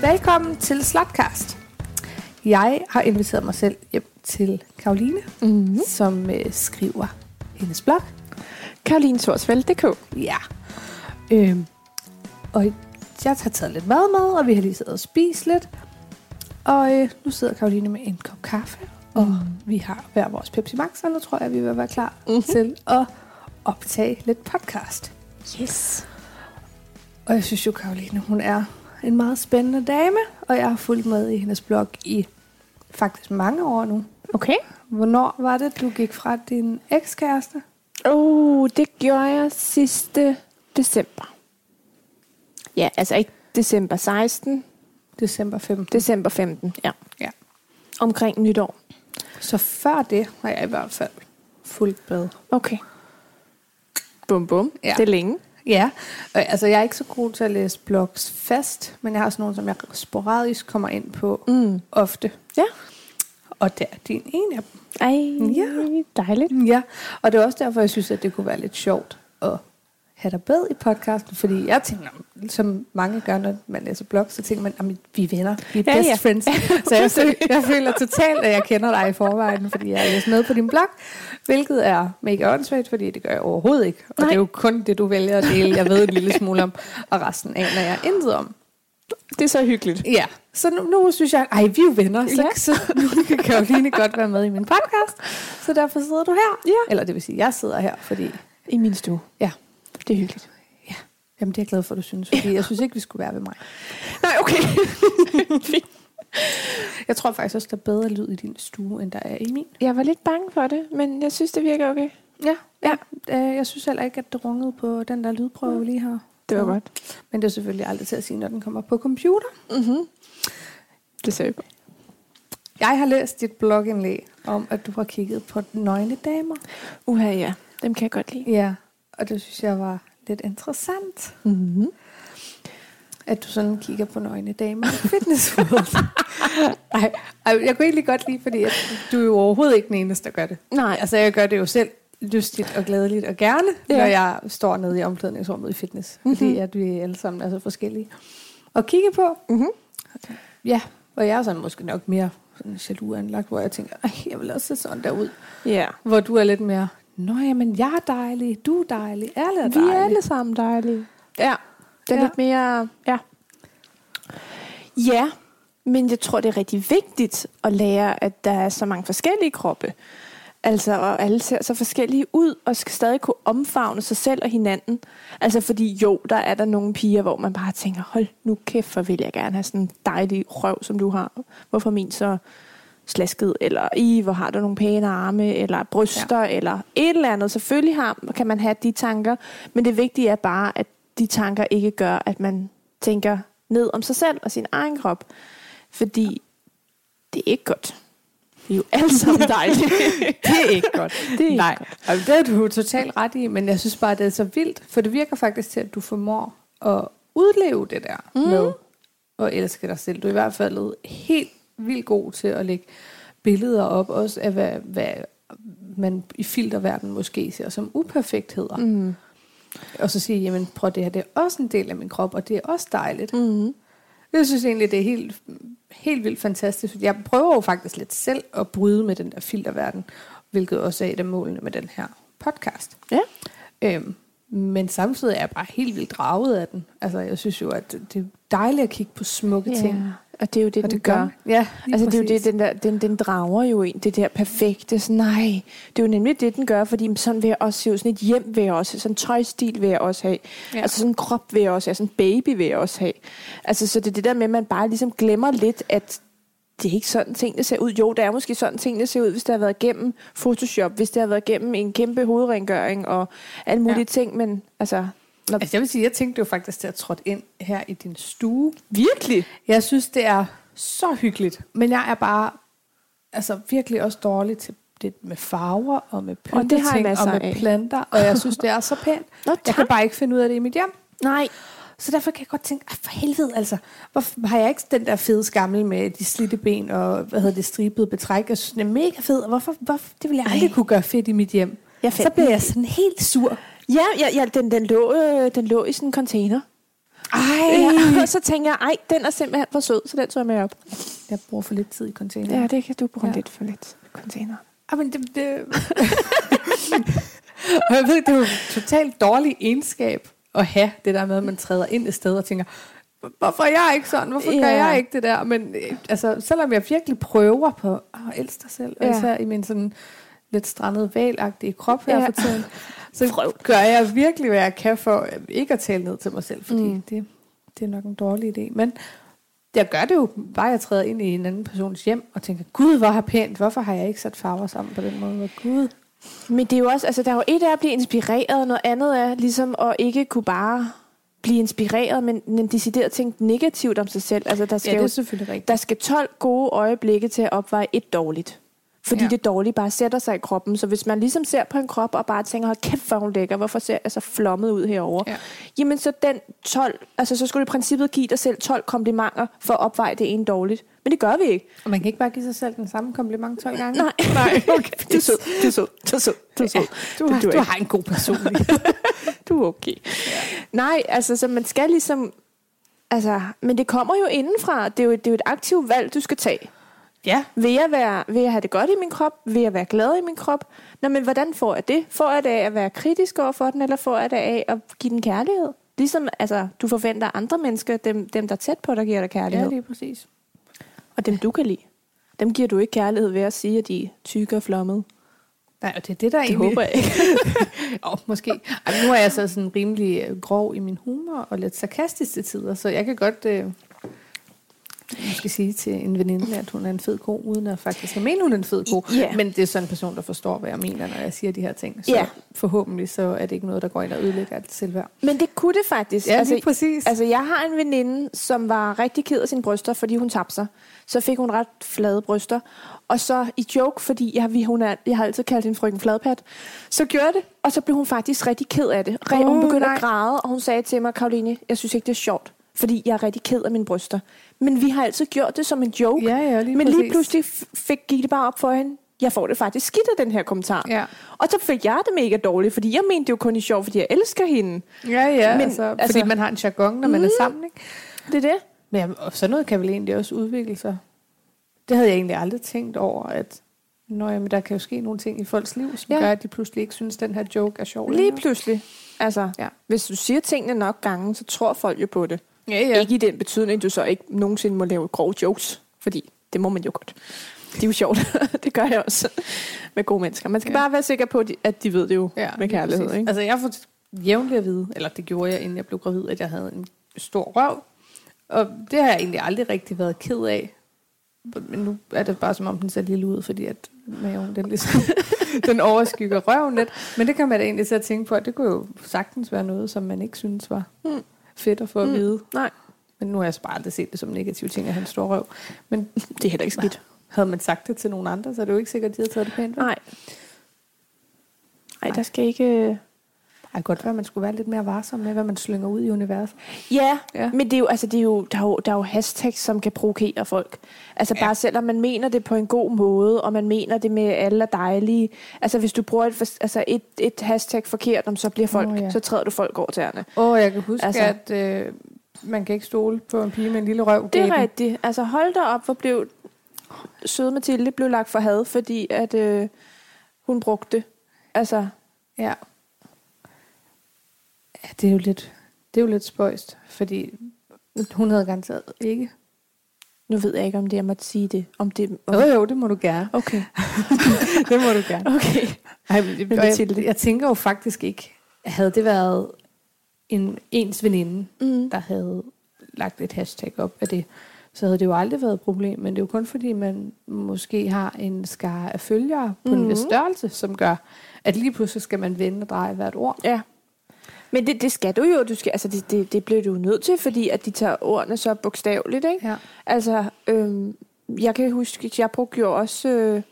Velkommen til Slapcast. Jeg har inviteret mig selv hjem til Karoline, Mm. mm-hmm. som øh, skriver hendes blog. Karolinesorsvald.dk Ja. Øhm, og jeg har taget lidt mad med, og vi har lige siddet og spist lidt. Og øh, nu sidder Karoline med en kop kaffe, og vi har hver vores Pepsi Max, og nu tror jeg, vi vil være klar mm-hmm. til at optage lidt podcast. Yes. Og jeg synes jo, Karoline, hun er en meget spændende dame, og jeg har fulgt med i hendes blog i faktisk mange år nu. Okay. Hvornår var det, du gik fra din ekskæreste? Oh, det gjorde jeg sidste december. Ja, altså ikke december 16, December 15. december 15, ja. Ja. Omkring nytår. Så før det har jeg i hvert fald fulgt med. Okay. Bum bum, Ja. ja. det er længe. Ja, øh, altså jeg er ikke så god til at læse blogs fast, men jeg har sådan nogle, som jeg sporadisk kommer ind på mm. ofte. Ja. Og der er din en af dem. Ej, Ja. dejligt. Mm, Ja, og det er også derfor, jeg synes, at det kunne være lidt sjovt at have dig med i podcasten, fordi jeg tænker, "Nå," som mange gør, når man læser blog, så tænker man, at vi er venner, vi er Ja, best ja. friends. Så jeg, føl- jeg føler totalt, at jeg kender dig i forvejen, fordi jeg har læst med på din blog, hvilket er mega åndssvagt, fordi det gør jeg overhovedet ikke. Og Nej. det er jo kun det, du vælger at dele, jeg ved en lille smule om, og resten aner jeg intet om. Det er så hyggeligt. Ja, så nu, nu synes jeg, ej, vi er jo venner, så, Ja. ja. så nu kan Karoline godt være med i min podcast. Så derfor sidder du her. Ja. Eller det vil sige, jeg sidder her, fordi... I min stue. Ja, Det er hyggeligt. ja. Jamen, det er jeg glad for, du synes, fordi jeg synes ikke, vi skulle være ved mig. Nej, okay. Jeg tror faktisk også, der er bedre lyd i din stue, end der er i min. jeg var lidt bange for det, men jeg synes, det virker okay. Ja, ja. Øh, jeg synes heller ikke, at det rungede på den der lydprøve lige her. Det var Så- godt. Men det er selvfølgelig aldrig til at sige, når den kommer på computer. Det ser jeg Jeg har læst dit blogindlæg om, at du har kigget på nøgne damer. Uha, ja. Dem kan jeg godt lide. Ja, og det synes jeg var lidt interessant. Mm-hmm. At du sådan kigger på nøgne damer i fitnessrådet. Ej, ej, jeg kunne egentlig godt lide, fordi at du er jo overhovedet ikke den eneste, der gør det. Nej, Altså, jeg gør det jo selv lystigt og glædeligt og gerne, ja. Ja. når jeg står nede i omklædningsrummet i fitness. Mm-hmm. Fordi at vi alle sammen er så forskellige. Og kigge på, Mhm. ja, og jeg er sådan måske nok mere sådan jaloux anlagt, hvor jeg tænker, Ej, jeg vil også se sådan der ud. ja. Hvor du er lidt mere, nå jamen, jeg er dejlig, du er dejlig, alle er Vi dejlige. er alle sammen dejlige. Ja, Ja. det er ja. lidt mere... Ja. ja, men jeg tror, det er rigtig vigtigt at lære, at der er så mange forskellige kroppe. Altså, og alle ser så forskellige ud, og skal stadig kunne omfavne sig selv og hinanden. Altså, fordi jo, der er der nogle piger, hvor man bare tænker, hold nu kæft, for vil jeg gerne have sådan en dejlig røv, som du har. Hvorfor er min så slasket, eller i, hvor har du nogle pæne arme, eller bryster, ja. eller et eller andet. Selvfølgelig har, kan man have de tanker, men det vigtige er bare, at de tanker ikke gør, at man tænker ned om sig selv og sin egen krop. Fordi det er ikke godt. Vi er jo alle sammen dejlige. det er ikke godt. Det er ikke Nej, og det har du jo totalt ret i, men jeg synes bare, det er så vildt, for det virker faktisk til, at du formår at udleve det der mm. med at elske dig selv. Du er i hvert fald helt vildt god til at lægge billeder op, også af hvad, hvad man i filterverdenen måske ser som uperfektheder. Mm. Og så sige, jamen prøv det her, det er også en del af min krop, og det er også dejligt. Mm. Jeg synes egentlig, det er helt, helt vildt fantastisk. fordi Jeg prøver jo faktisk lidt selv at bryde med den der filterverden, hvilket også er et af målene med den her podcast. ja. Øhm, men samtidig er jeg bare helt vildt draget af den. Altså, jeg synes jo, at det er dejligt at kigge på smukke ting. ja. Og det er jo det, Og den det gør. gør. Ja, lige altså, det er jo præcis. det, den, der, den, den drager jo ind, det der perfekte. Sådan, nej, det er jo nemlig det, den gør, fordi jamen, sådan vil jeg også se ud. Sådan et hjem vil jeg også have. Sådan en tøjstil vil jeg også have. Ja. Ja. Altså sådan en krop vil jeg også have. Sådan en baby vil jeg også have. Altså, så det er det der med, at man bare ligesom glemmer lidt, at det er ikke sådan tingene ser ud. Jo, det er måske sådan tingene ser ud, hvis det har været igennem Photoshop, hvis det har været igennem en kæmpe hovedrengøring og alle mulige Ja. ja. ting, men altså... Når... Altså, jeg vil sige, jeg tænkte jo faktisk til at trådte ind her i din stue. Virkelig? Jeg synes, det er så hyggeligt, men jeg er bare altså, virkelig også dårlig til det med farver og med har jeg pynteting og, masser med af. planter, og jeg synes, det er så pænt. Nå, jeg kan bare ikke finde ud af det i mit hjem. Nej. Så derfor kan jeg godt tænke, "Ej, for helvede altså, hvorfor har jeg ikke den der fede skammel med de slidte ben og, hvad hedder det, stribede betræk? Jeg synes, den er mega fed, og hvorfor, hvorfor det ville jeg aldrig Ej. kunne gøre fedt i mit hjem? Jeg så fandt bliver jeg sådan helt sur. Ja, ja, ja den, den, lå, øh, den lå i sådan en container. Ej. Ja, og Øh, så tænker jeg, ej, den er simpelthen for sød, så den tog jeg med op. Jeg bruger for lidt tid i containeren. Ja, det kan du bruge Ja. ja. lidt for lidt container. Ah, men det, det... og jeg ved, det er jo en totalt dårlig egenskab at have det der med, at man træder ind et sted og tænker, hvorfor er jeg ikke sådan? Hvorfor gør Ja. jeg ikke det der? Men øh, altså, selvom jeg virkelig prøver på at elske dig selv, ja. Ja. især i min sådan lidt strandet valagtige krop her ja. Ja. for tiden, så gør jeg virkelig, hvad jeg kan for øh, ikke at tale ned til mig selv, fordi mm. Mm. det, det er nok en dårlig idé. Men jeg gør det jo, bare jeg træder ind i en anden persons hjem og tænker, gud, hvor har pænt, hvorfor har jeg ikke sat farver sammen på den måde? Hvor gud. Men det er jo også, altså der er jo et af at blive inspireret, og noget andet er ligesom at ikke kunne bare blive inspireret, men, men decideret tænke negativt om sig selv. Altså der skal jo selvfølgelig rigtigt. der skal 12 gode øjeblikke til at opveje et dårligt. Fordi Ja. ja. det dårlige bare sætter sig i kroppen. Så hvis man ligesom ser på en krop og bare tænker, hold kæft, hvor er hun lækker, hvorfor ser jeg så flommet ud herover? Ja. Ja. Jamen så den 12, altså så skulle du i princippet give dig selv 12 komplimenter for at opveje det ene dårligt. Men det gør vi ikke. Og man kan ikke bare give sig selv den samme kompliment 12 gange. Nej, nej, okay. Du er sød, du er sød, du er sød, du er sød. Du, har, Det duer du ikke. har en god personlighed. du er okay. Ja. Nej, altså, så man skal ligesom... Altså, men det kommer jo indenfra. Det er jo, det er jo et aktivt valg, du skal tage. ja. Vil jeg, være, vil jeg have det godt i min krop? Vil jeg være glad i min krop? Nå, men hvordan får jeg det? Får jeg det af at være kritisk over for den, eller får jeg det af at give den kærlighed? Ligesom altså, du forventer andre mennesker, dem, dem der er tæt på dig, giver dig ja, kærlighed. lige præcis. og dem du kan lide. Dem giver du ikke kærlighed ved at sige, at de er tykke og flommede. Nej, og det er det, der Det håber jeg ikke. Oh, måske. Ej, men nu er jeg så sådan rimelig øh, grov i min humor og lidt sarkastisk til tider, så jeg kan godt øh, måske sige til en veninde, at hun er en fed ko, uden at faktisk at mene, hun er en fed ko. Ja. Men det er sådan en person, der forstår, hvad jeg mener, når jeg siger de her ting. Så Ja. forhåbentlig så er det ikke noget, der går ind og ødelægger alt selvværd. Men det kunne det faktisk. Ja, altså, lige præcis. Altså, Altså, jeg har en veninde, som var rigtig ked af sine bryster, fordi hun tabte sig. Så fik hun ret flade bryster. Og så i joke, fordi jeg, vi, hun er, jeg har altid kaldt hende frøken fladpat, så gjorde jeg det, og så blev hun faktisk rigtig ked af det. Oh, hun Åh, begyndte nej. at græde, og hun sagde til mig, Karoline, jeg synes ikke, det er sjovt, fordi jeg er rigtig ked af mine bryster. Men vi har altid gjort det som en joke. Ja, ja, lige Men præcis. lige pludselig f- fik, gik det bare op for hende, jeg får det faktisk skidt af den her kommentar. Ja. Og så fik jeg det mega dårligt, fordi jeg mente det jo kun i sjov, fordi jeg elsker hende. ja, ja. Men, Men, altså, fordi altså- man har en jargon, når man er sammen, ikke? Det er det. Men jamen, og sådan noget kan vel egentlig også udvikle sig. Det havde jeg egentlig aldrig tænkt over, at Nå, jamen, der kan jo ske nogle ting i folks liv, som ja. Ja. gør, at de pludselig ikke synes, den her joke er sjov. Lige længere. pludselig. Altså, Ja. ja. hvis du siger tingene nok gange, så tror folk jo på det. Ja, Ja. Ikke i den betydning, du så ikke nogensinde må lave grove jokes, fordi det må man jo godt. Det er jo sjovt. det gør jeg også med gode mennesker. Man skal Ja. ja. bare være sikker på, at de- at de ved det jo ja, ja, med lige kærlighed. præcis. Ikke? Altså, jeg får jævnligt at vide, eller det gjorde jeg, inden jeg blev gravid, at jeg havde en stor røv. Og det har jeg egentlig aldrig rigtig været ked af. Men nu er det bare som om, den ser lille ud, fordi at maven, den ligesom, den overskygger røven lidt. Men det kan man da egentlig så tænke på, at det kunne jo sagtens være noget, som man ikke synes var Mm. fedt at få at Mm. vide. Nej, Men nu har jeg så bare aldrig set det som en negativ ting, at han står røv. Men det er heller ikke skidt. havde man sagt det til nogen andre, så er det jo ikke sikkert, at de havde taget det pænt. vel? Nej. Nej, der skal ikke... øh, Ej, godt være, at man skulle være lidt mere varsom med, hvad man slynger ud i universet. Ja, Ja. ja. men det er jo, altså, det er jo, der, er jo, der er jo hashtags, som kan provokere folk. Altså Ja. ja. bare selvom man mener det på en god måde, og man mener det med at alle er dejlige. Altså hvis du bruger et, for- altså, et, et hashtag forkert, om så bliver folk, Åh, oh, ja. ja. så træder du folk over tæerne. Åh, oh, jeg kan huske, altså, Altså- at øh, man kan ikke stole på en pige med en lille røv. Det gav er den. rigtigt. Altså hold da op, hvor blev søde Mathilde blev lagt for had, fordi at øh, hun brugte det. Altså, Ja. ja det, er jo lidt, det er jo lidt spøjst, fordi hun havde garanteret ikke. nu ved jeg ikke, om det jeg måtte sige det. Om det om... Jo, jo, det må du gerne. Okay. Det må du gerne. okay. Ej, men det, Men og jeg, Mathilde- jeg tænker jo faktisk ikke, havde det været en ens veninde, mm. Mm. der havde lagt et hashtag op af det, så havde det jo aldrig været et problem, men det er jo kun fordi, man måske har en skare af følgere på mm. en vis størrelse, som gør, at lige pludselig skal man vende og dreje hvert ord. Ja. Men det, det skal du jo. Du skal, altså det, det, det bliver du jo nødt til, fordi at de tager ordene så bogstaveligt. Ikke? Ja. Altså, øhm, jeg kan huske, at jeg brugte jo også... Øh,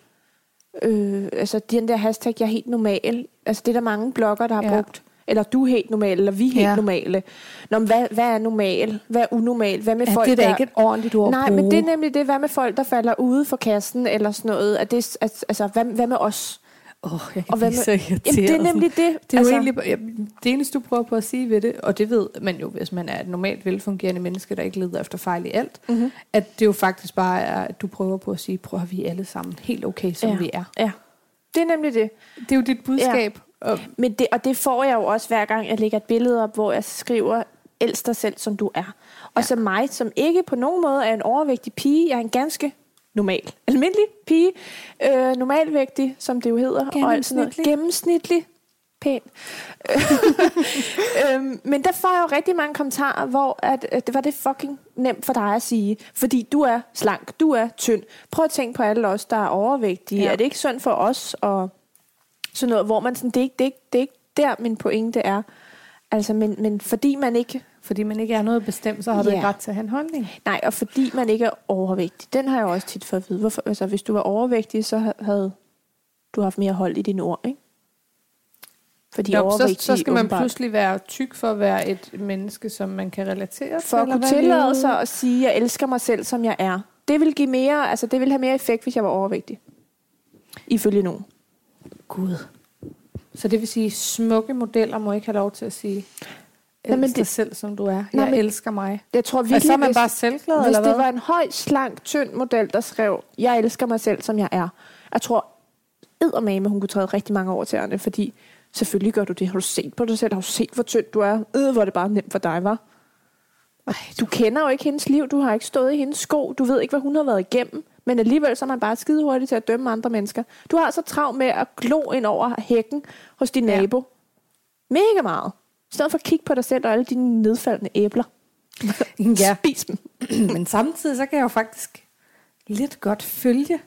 øh, altså, den der hashtag, jeg er helt normal. Altså, det er der mange blogger, der har Ja. ja. brugt. Eller du er helt normal, eller vi er helt Ja. ja. normale. Nå, men hvad, hvad er normal? Hvad er unormal? Hvad med Ja, folk, det er da der... ikke et ordentligt ord at Nej, bruge. men det er nemlig det. Hvad med folk, der falder ude for kassen, eller sådan noget? Er det, s- altså, hvad, hvad med os? Åh, oh, jeg kan Og hvad blive med- så irriteret. Jamen, det er nemlig det. Det er altså, jo egentlig, bare- ja, det eneste, du prøver på at sige ved det, og det ved man jo, hvis man er et normalt velfungerende menneske, der ikke leder efter fejl i alt, Mhm. at det jo faktisk bare er, at du prøver på at sige, prøv at vi er alle sammen helt okay, som vi er. Ja, det er nemlig det. Det er jo dit budskab. Ja. Og, Men det, og det får jeg jo også hver gang, jeg lægger et billede op, hvor jeg skriver, elsk dig selv, som du er. Og ja. så mig, som ikke på nogen måde er en overvægtig pige. Jeg er en ganske normal, almindelig pige. Øh, normalvægtig, som det jo hedder. Og alt sådan noget. Gennemsnitlig. Gennemsnitlig. Pæn. øhm, men der får jeg jo rigtig mange kommentarer, hvor at, at det var det fucking nemt for dig at sige. Fordi du er slank, du er tynd. Prøv at tænke på alle os, der er overvægtige. Ja. Ja. Er det ikke synd for os? Og sådan noget, hvor man sådan, det er ikke, det er ikke, det er ikke der, min pointe er. Altså, men, men fordi man ikke, fordi man ikke er noget bestemt, så har du Ja. ikke ret til at have en holdning. nej, og fordi man ikke er overvægtig, den har jeg også tit fået at vide. Hvorfor, altså, hvis du var overvægtig, så ha- havde du haft mere hold i dine ord, ikke? Fordi Nå, så, overvægtige så skal man åbenbart- pludselig være tyk for at være et menneske, som man kan relatere til. for at eller kunne hvad er tillade det? sig at sige, at jeg elsker mig selv, som jeg er. Det vil give mere, altså det vil have mere effekt, hvis jeg var overvægtig. Ifølge nogen. Gud. Så det vil sige, smukke modeller må ikke have lov til at sige, Nej, elsk men dig det- selv, som du er. Nej, Jeg men- elsker mig. Jeg tror Virkelig, og virkelig, Altså, så er man hvis- bare selvglad, Hvis eller hvad? det var en høj, slank, tynd model, der skrev, jeg elsker mig selv, som jeg er. Jeg tror eddermame, hun kunne træde rigtig mange over tæerne, fordi selvfølgelig gør du det. Har du set på dig selv? Har du set, hvor tynd du er? Øh, hvor er det bare nemt for dig, var. Du kender jo ikke hendes liv. Du har ikke stået i hendes sko. Du ved ikke, hvad hun har været igennem. Men alligevel så er man bare skide hurtig til at dømme andre mennesker. Du har så travlt med at glo ind over hækken hos din Ja. nabo. Mega meget. I stedet for at kigge på dig selv og alle dine nedfaldende æbler. Ja, Spis dem. men samtidig så kan jeg jo faktisk lidt godt følge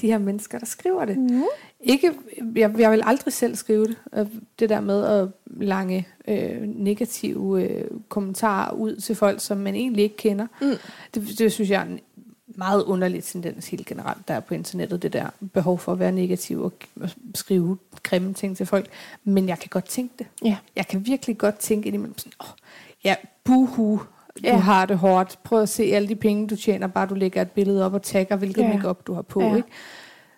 de her mennesker, der skriver det. Mm. Ikke, jeg, jeg vil aldrig selv skrive det. øh, Det der med at lange øh, negative øh, kommentarer ud til folk, som man egentlig ikke kender. Mm. Det, det synes jeg er en meget underlig tendens helt generelt, der er på internettet. Det der behov for at være negativ og og skrive grimme ting til folk. Men jeg kan godt tænke det. Ja. Jeg kan virkelig godt tænke indimellem sådan, åh, ja, buhu, du Ja. har det hårdt. Prøv at se alle de penge, du tjener, bare du lægger et billede op og tagger, hvilket Ja. ja. makeup du har på. Ja. Ikke?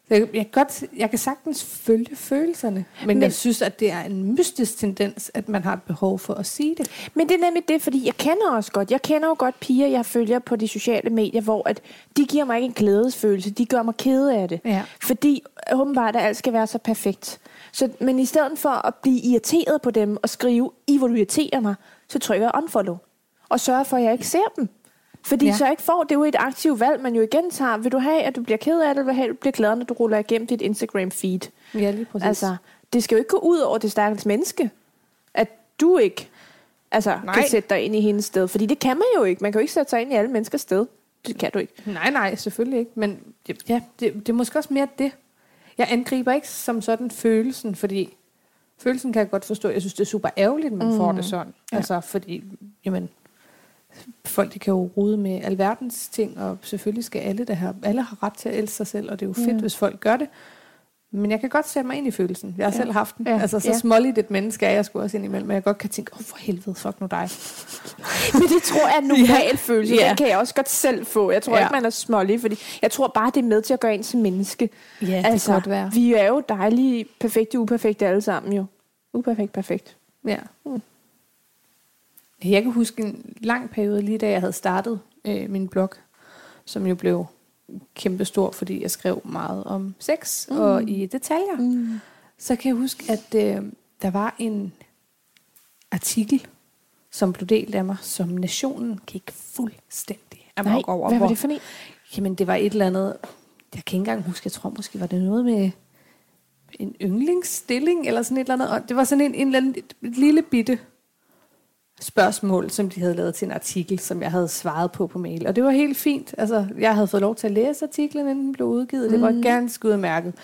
Så jeg, jeg, kan godt, jeg kan sagtens følge følelserne, men, men Men- jeg synes, at det er en mystisk tendens, at man har et behov for at sige det. Men det er nemlig det, fordi jeg kender også godt. Jeg kender jo godt piger, jeg følger på de sociale medier, hvor at de giver mig ikke en glædesfølelse. De gør mig kede af det. Ja. Fordi åbenbart, at alt skal være så perfekt. Så, men i stedet for at blive irriteret på dem og skrive, I hvor du irriterer mig, så trykker jeg unfollow. Og sørger for, at jeg ikke ser dem. Fordi Ja. ja. så jeg ikke får, det er jo et aktivt valg, man jo igen tager. Vil du have, at du bliver ked af det, eller vil du have, at du bliver glad, når du ruller igennem dit Instagram-feed? Ja, lige præcis. Altså, det skal jo ikke gå ud over det stakkels menneske, at du ikke altså, Nej. kan sætte dig ind i hendes sted. Fordi det kan man jo ikke. Man kan jo ikke sætte sig ind i alle menneskers sted. Det kan du ikke. Nej, nej, selvfølgelig ikke. Men det- ja, det, det er måske også mere det. Jeg angriber ikke som sådan følelsen, fordi følelsen kan jeg godt forstå. Jeg synes, det er super ærgerligt, man mm. får det sådan. Ja. Ja. Altså, fordi, jamen, folk de kan jo rode med alverdens ting, og selvfølgelig skal alle det her. Alle har ret til at elske sig selv, og det er jo fedt, Ja. hvis folk gør det. Men jeg kan godt sætte mig ind i følelsen. Jeg har ja. Ja. selv haft den. Ja. Ja. Altså, så Ja. småligt et menneske er jeg sgu også indimellem, men jeg godt kan tænke, åh, oh, for helvede, fuck nu dig. Men det tror jeg er en normal ja. følelse. Ja. Det kan jeg også godt selv få. Jeg tror Ja. ja. ikke, man er smålig, fordi jeg tror bare, det er med til at gøre en til menneske. Ja, det altså, kan godt være. vi er jo dejlige, perfekte, uperfekte alle sammen jo. Uperfekt, perfekt. Ja. Mm. Jeg kan huske en lang periode, lige da jeg havde startet øh, min blog, som jo blev kæmpestor, fordi jeg skrev meget om sex mm. og i detaljer. Mm. Så kan jeg huske, at øh, der var en artikel, som blev delt af mig, som nationen gik fuldstændig Nej, amok over. hvad var hvor- det for en? Jamen, det var et eller andet... Jeg kan ikke engang huske, jeg tror måske, var det noget med en yndlingsstilling, eller sådan et eller andet. Og det var sådan en, en eller anden, et lille bitte spørgsmål, som de havde lavet til en artikel, som jeg havde svaret på på mail. Og det var helt fint. Altså, jeg havde fået lov til at læse artiklen, inden den blev udgivet. Det var Mm. ganske udmærket.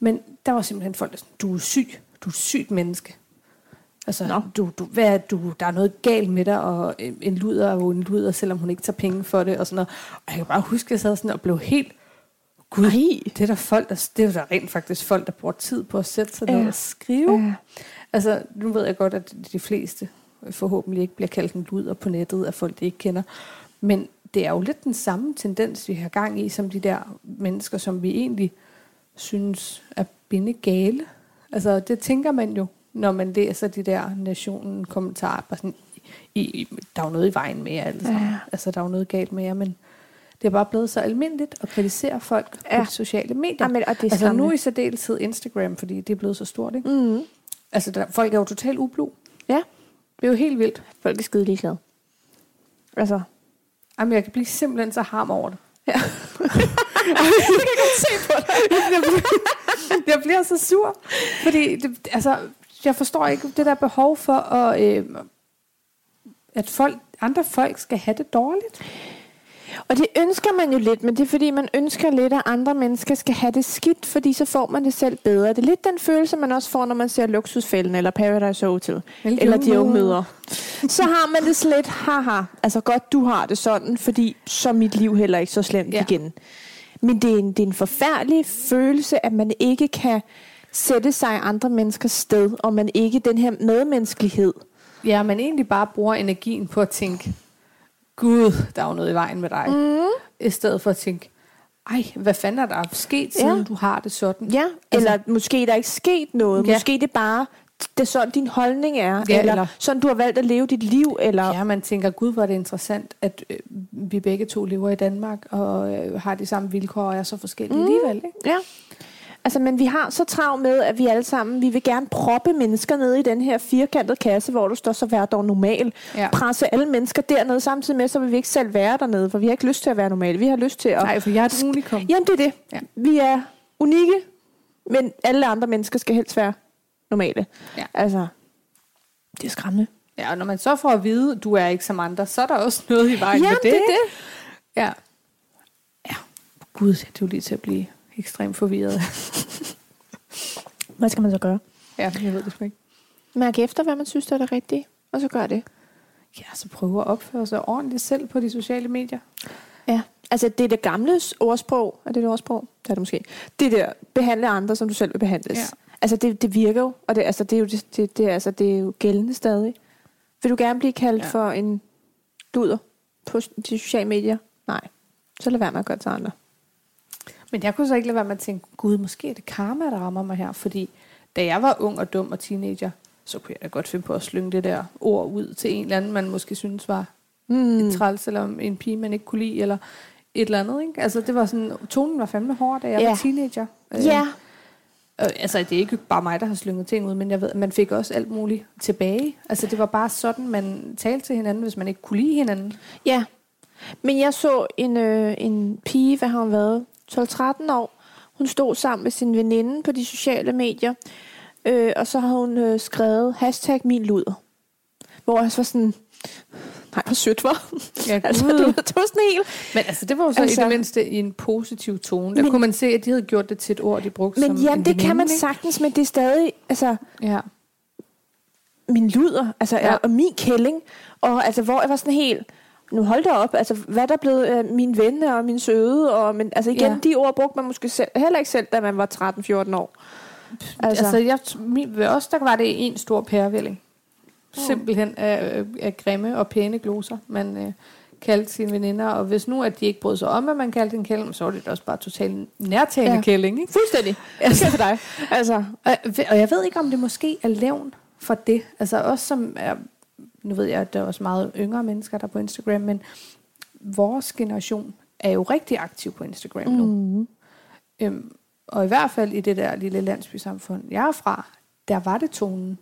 Men der var simpelthen folk, der sådan, du er syg. Du er et sygt menneske. Altså, Nå. du, du, hvad, er du, der er noget galt med dig, og en en luder er jo en luder, selvom hun ikke tager penge for det, og sådan noget. Og jeg kan bare huske, at jeg sad sådan og blev helt, gud, Ej. det er der folk, der, det er der rent faktisk folk, der bruger tid på at sætte sig ned Ja. og skrive. Ja. Altså, nu ved jeg godt, at de fleste forhåbentlig ikke bliver kaldt en luder på nettet af folk, de ikke kender. Men det er jo lidt den samme tendens, vi har gang i, som de der mennesker, som vi egentlig synes er bindegale. Altså, det tænker man jo, når man læser de der nationen kommentarer. Bare sådan, I, I, der er jo noget i vejen med jer alle sammen. Ja. Altså, der er jo noget galt med jer, men det er bare blevet så almindeligt at kritisere folk ja. Ja. på de sociale medier. Jamen, og det er altså, nu skræmmende. i særdeleshed Instagram, fordi det er blevet så stort, ikke? Mm. Altså, der, folk er jo totalt ublu. Ja. Det er jo helt vildt. Folk er skide ligeglade. Altså, Jamen, jeg kan blive simpelthen så harm over det. Ja. jeg kan godt se på dig. jeg, bliver, jeg bliver så sur, fordi det, altså, jeg forstår ikke det der behov for, at, øh, at folk, andre folk skal have det dårligt. og det ønsker man jo lidt, men det er fordi, man ønsker lidt, at andre mennesker skal have det skidt, fordi så får man det selv bedre. Det er lidt den følelse, man også får, når man ser Luksusfælden eller Paradise Hotel. Eller eller de unge møder. Så har man det slet, haha, altså godt du har det sådan, fordi så er mit liv heller ikke så slemt Ja. ja. igen. Men det er, en, det er en forfærdelig følelse, at man ikke kan sætte sig i andre menneskers sted, og man ikke den her medmenneskelighed. Ja, man egentlig bare bruger energien på at tænke, Gud, der er jo noget i vejen med dig. Mm. I stedet for at tænke, ej, hvad fanden er der sket, siden Ja. du har det sådan? Ja, eller altså, måske der er ikke sket noget. Ja. Ja. Måske det er bare, det er sådan din holdning er, Ja, ja, eller, eller- eller sådan du har valgt at leve dit liv, eller ja. Ja, man tænker, gud, hvor er det interessant, at øh, vi begge to lever i Danmark og øh, har de samme vilkår og er så forskellige mm. alligevel. Ikke? Ja. Altså, men vi har så travlt med, at vi alle sammen, vi vil gerne proppe mennesker ned i den her firkantede kasse, hvor du står så vær dog normal. Ja. Ja. Presse alle mennesker dernede, samtidig med, så vil vi ikke selv være dernede, for vi har ikke lyst til at være normale. Vi har lyst til at... Nej, for jeg er et unikum. Jamen, det er det. Ja. Vi er unikke, men alle andre mennesker skal helst være normale. Ja. Altså, det er skræmmende. Ja, og når man så får at vide, du er ikke som andre, så er der også noget i vejen Jamen, med det. ikke? det er det. Ja. ja. Gud, det er jo lige til at blive ekstremt forvirret. Hvad skal man så gøre? ja, jeg ved det sgu ikke. Mærk efter, hvad man synes, der er det rigtige, og så gør det. Ja, så prøve at opføre sig ordentligt selv på de sociale medier. Ja. Altså, det er det gamle ordsprog. Er det det ordsprog? Det er det måske. Det der, behandle andre, som du selv vil behandles. Ja. Ja. Altså, det, det virker jo, og det, altså, det, er jo, det, det, det, er- altså, det er jo gældende stadig. Vil du gerne blive kaldt Ja. ja. for en duder på s- de sociale medier? Nej. Så lad være med at gøre det til andre. Men jeg kunne så ikke lade være med at tænke, gud, måske er det karma, der rammer mig her. Fordi da jeg var ung og dum og teenager, så kunne jeg da godt finde på at slynge det der ord ud til en eller anden, man måske synes var mm. et træls, eller en pige, man ikke kunne lide, eller et eller andet. Ikke? Altså, det var sådan, tonen var fandme hård, da jeg ja. Ja. var teenager. Øh, Ja. og, altså, det er ikke bare mig, der har slynget ting ud, men jeg ved, at man fik også alt muligt tilbage. Altså, det var bare sådan, man talte til hinanden, hvis man ikke kunne lide hinanden. Ja. Men jeg så en, øh, en pige, hvad har hun været? 12-13 år. Hun stod sammen med sin veninde på de sociale medier. Øh, og så har hun øh, skrevet hashtag min luder. Hvor jeg så var sådan, nej, hvor sødt var. Ja, altså, gud. det var, det var sådan helt. Men altså, det var jo så altså, Altså- i det mindste i en positiv tone. Der men, Men- kunne man se, at de havde gjort det til et ord, de brugte som Men ja, en det kan man veninde, sagtens, men det er stadig, altså, ikke? Ja. min luder, altså, Ja. ja. og min kælling. Og altså, hvor jeg var sådan helt, nu hold da op, altså, hvad er der blevet af min ven og min søde? Og, men, altså igen, Ja. ja. de ord brugte man måske selv, heller ikke selv, da man var 13-14 år. Altså, Altså. altså jeg, t- min, ved os, der var det en stor pærevælling. Simpelthen af, af grimme og pæne gloser, man øh, kaldte sine veninder. Og hvis nu, at de ikke brød sig om, at man kaldte en kælling, så var det da også bare totalt nærtagende ja. Ja. kælling. Ikke? Fuldstændig. Altså, for dig. Altså, Og, og jeg ved ikke, om det måske er levn for det. Altså også som er, nu ved jeg, at der er også meget yngre mennesker, der er på Instagram, men vores generation er jo rigtig aktiv på Instagram mm. nu. Øhm, og i hvert fald i det der lille landsbysamfund, jeg er fra, der var det tonen.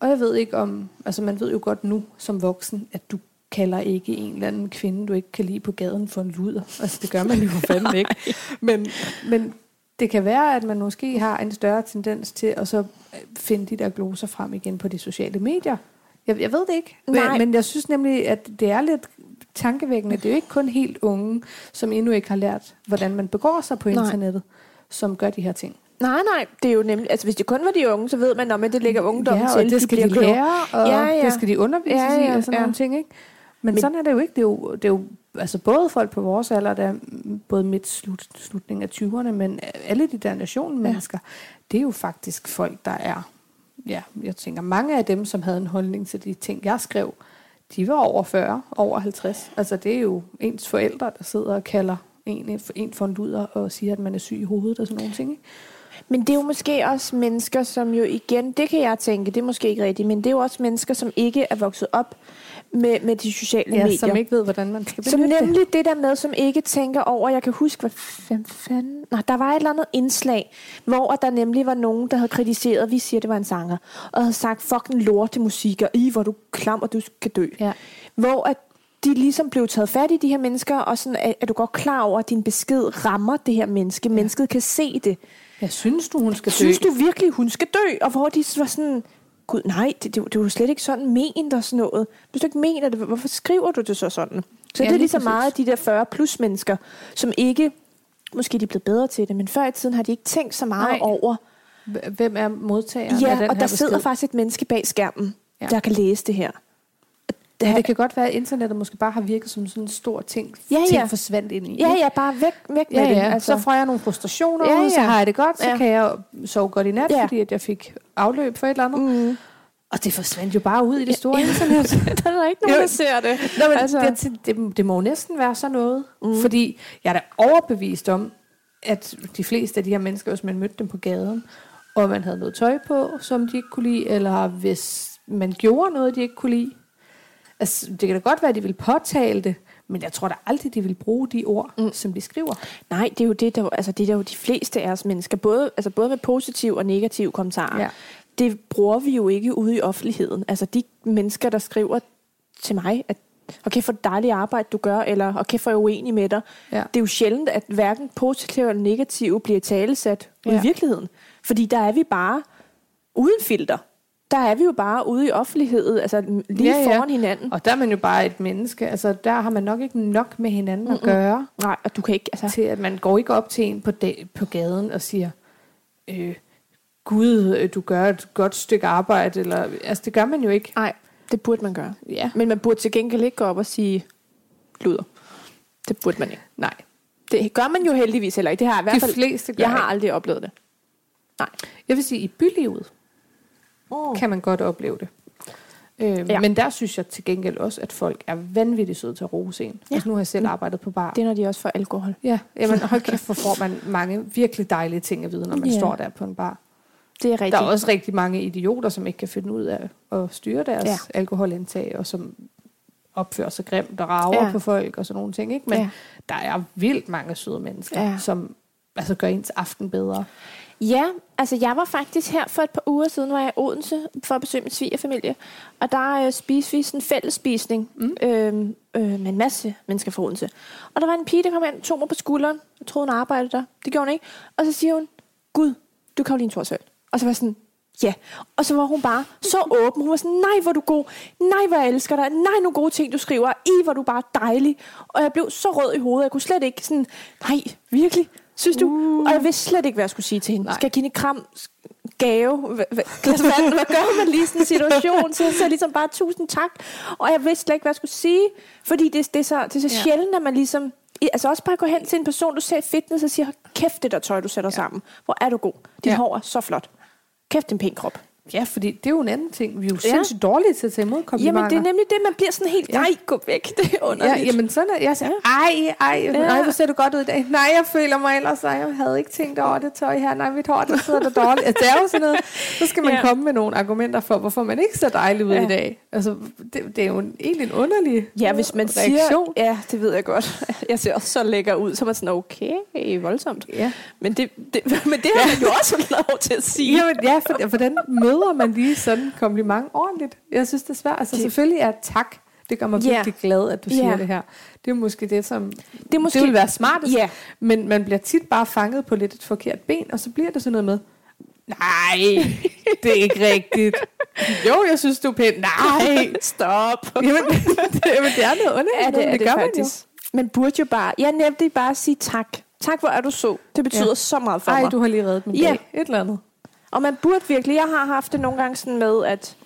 Og jeg ved ikke om, altså man ved jo godt nu som voksen, at du kalder ikke en eller anden kvinde, du ikke kan lide på gaden for en luder. Altså det gør man jo for fanden ikke. Men, men det kan være, at man måske har en større tendens til at så øh, finde de der gloser frem igen på de sociale medier. Jeg, jeg ved det ikke, men, Nej. men jeg synes nemlig, at det er lidt tankevækkende. Det er jo ikke kun helt unge, som endnu ikke har lært, hvordan man begår sig på Nej. internettet, som gør de her ting. nej, nej, det er jo nemlig, altså hvis det kun var de unge, så ved man, om at det ligger ungdommen ja, til, og det skal de bliver klogere. lære, og ja, Ja, ja. ja. det skal de undervises ja, ja, i, og sådan ja. nogle ting, ikke? Men, Men Men- sådan er det jo ikke. Det er jo, det er jo altså både folk på vores alder, der er mm, både midt slut, slutningen af 20'erne, men alle de der nationmennesker, ja. det er jo faktisk folk, der er, ja, jeg tænker, mange af dem, som havde en holdning til de ting, jeg skrev, de var over 40, over 50. Altså det er jo ens forældre, der sidder og kalder en, en for en luder og siger, at man er syg i hovedet og sådan nogle ting. Ikke? Men det er jo måske også mennesker, som jo igen, det kan jeg tænke, det er måske ikke rigtigt, men det er jo også mennesker, som ikke er vokset op med, med de sociale Ja, medier. som ikke ved, hvordan man skal Som benytte det. nemlig det der med, som ikke tænker over, jeg kan huske, hvad fanden, fanden? Nå, der var et eller andet indslag, hvor at der nemlig var nogen, der havde kritiseret, vi siger, det var en sanger, og havde sagt, fucking lorte musik, og i, hvor du er klam, og du skal dø. Ja. Hvor at de ligesom blev taget fat i de her mennesker, og sådan, er, er du godt klar over, at din besked rammer det her menneske. Mennesket kan se det. Jeg synes du, hun skal Synes dø? du virkelig, hun skal dø? Og hvor de var sådan, gud nej, det, det, det var jo slet ikke sådan ment og sådan noget. Hvis du ikke mener det, hvorfor skriver du det så sådan? Så Ja, ja, det er lige lige så præcis. meget de der 40 plus mennesker, som ikke, måske de er blevet bedre til det, men før i tiden har de ikke tænkt så meget Nej. nej. over. H- Hvem er modtageren af Ja, den og her der besked? sidder faktisk et menneske bag skærmen, Ja. ja. der kan læse det her. Og Det, Det kan godt være, at internettet måske bare har virket som sådan en stor ting, Ja, ja, ja. ja. ting forsvandt ind i. ja, ikke? ja, bare væk, væk med ja, ja. det. Altså. Så får jeg nogle frustrationer ja, Ja, ud, så ja. har jeg det godt, så ja. Ja. kan jeg sove godt i nat, ja. Ja. fordi at jeg fik afløb for et eller andet. Mm. mm. Og det forsvandt jo bare ud i det store ja. internet. der er ikke Jo. nogen, der ser det. Nå, men altså. Altså. det, det, det må jo næsten være sådan noget. Mm. Fordi jeg er da overbevist om, at de fleste af de her mennesker, hvis man mødte dem på gaden, og man havde noget tøj på, som de ikke kunne lide, eller hvis man gjorde noget, de ikke kunne lide. Altså, det kan da godt være, at de ville påtale det, men jeg tror da aldrig, de vil bruge de ord, mm. som de skriver. Nej, det er jo det, der, altså det er der jo de fleste af os mennesker, både, altså både med positive og negative kommentarer. Ja. Ja. Det bruger vi jo ikke ude i offentligheden. Altså de mennesker, der skriver til mig, at og kæft for det dejlige arbejde, du gør, eller og kæft for jeg er uenig med dig. Ja. Det er jo sjældent, at hverken positive eller negative bliver talesat ja. ude Ja. i virkeligheden. Fordi der er vi bare uden filter. Der er vi jo bare ude i offentligheden, altså lige Ja, ja, ja. foran hinanden. Og der er man jo bare et menneske. Altså, der har man nok ikke nok med hinanden at gøre. Nej, og du kan ikke, altså... til, at man går ikke op til en på, da- på gaden og siger, øh, Gud, øh, du gør et godt stykke arbejde. Eller, altså, det gør man jo ikke. Nej, det burde man gøre. Ja. Men man burde til gengæld ikke gå op og sige luder. Det burde man ikke. Nej. Det gør man jo heldigvis heller ikke. Det har jeg i hvert De fald... fleste gør jeg har ikke. aldrig oplevet det. Nej. Jeg vil sige, i bylivet Oh. kan man godt opleve det. Øh, ja. Ja. Men der synes jeg til gengæld også, at folk er vanvittigt søde til at rose en. Ja. Ja. Altså, nu har jeg selv arbejdet på bar. Det er, når de også får alkohol. Ja, jamen, hold kæft, hvor får man mange virkelig dejlige ting at vide, når man Ja. står der på en bar. Det er Der rigtigt. er også rigtig mange idioter, som ikke kan finde ud af at styre deres ja. Ja. alkoholindtag, og som opfører sig grimt og rager ja. Ja. på folk og sådan nogle ting. Ikke? Men ja. Ja. der er vildt mange søde mennesker, ja. Ja. som altså, gør ens aften bedre. Ja, altså jeg var faktisk her for et par uger siden, var jeg i Odense for at besøge min svigerfamilie. Og der øh, spiste vi sådan en fællesspisning mm. øh, øh, med en masse mennesker fra Odense. Og der var en pige, der kom ind, tog mig på skulderen. Jeg troede, hun arbejdede der. Det gjorde hun ikke. Og så siger hun, Gud, du er Karoline Thorsøl. Og så var jeg sådan, ja. Og så var hun bare så åben. Hun var sådan, nej, hvor er du god. Nej, hvor jeg elsker dig. Nej, nogle gode ting, du skriver. I, hvor er du bare dejlig. Og jeg blev så rød i hovedet. Jeg kunne slet ikke sådan, nej, virkelig. Synes du? Uh. Og jeg vidste slet ikke, hvad jeg skulle sige til hende. Nej. Nej. Skal jeg give hende et kram? Sk- Gave? Hva- hva- Glas vand? Hvad gør man lige i sådan en situation? Så jeg sagde ligesom bare tusind tak. Og jeg vidste slet ikke, hvad jeg skulle sige. Fordi det, det er så, det er så Ja. ja. sjældent, at man ligesom... I- Altså også bare gå hen til en person, du ser i fitness og siger, "Hold kæft det der tøj, du sætter ja. sammen. Hvor er du god. Dit Ja. ja. hår er så flot. Kæft, det er en pæn krop. Ja, fordi det er jo en anden ting. Vi er jo Ja. sindssygt dårlige til at tage imod komplimenter. Jamen, det er nemlig det, man bliver sådan helt... Ja. Ja. Nej, gå væk. Det er Ja, underligt. jamen sådan er jeg. Siger, ej, ej, ja. nej, hvor ser du godt ud i dag. Nej, jeg føler mig ellers, nej, jeg havde ikke tænkt over det tøj her. Nej, mit hår, det sidder der dårligt. Altså, det er jo sådan noget. Så skal man ja. Ja. komme med nogle argumenter for, hvorfor man ikke ser dejlig ud ja. Ja. i dag. Altså, det, det er jo en, egentlig en underlig Ja, hvis man reaktion. siger, ja, det ved jeg godt. Jeg ser også så lækker ud, så er man sådan, okay, voldsomt. Ja. Men det, det, men det har man jo også fået lov til at sige. Jamen, ja, for, hvordan møder man lige sådan en kompliment ordentligt? Jeg synes, det er svært. Altså, Det- selvfølgelig er tak. Det gør mig Ja. virkelig glad, at du siger Ja. det her. Det er måske det, som... Det er måske- det vil være smart. Ja. Men man bliver tit bare fanget på lidt et forkert ben, og så bliver det sådan noget med, nej, det er ikke rigtigt. Jo, jeg synes, du er pæn. Nej. stop. Jamen, det, jamen, det er noget underligt. Er det, men er det, gør faktisk. Man, man burde jo bare, jeg nævnte det bare at sige tak. Tak, hvor er du så. Det betyder Ja. ja. så meget for man jo. Ej, mig. du har lige reddet min Ja. dag. Et eller andet. Og man burde virkelig, jeg har haft det nogle gange sådan med, at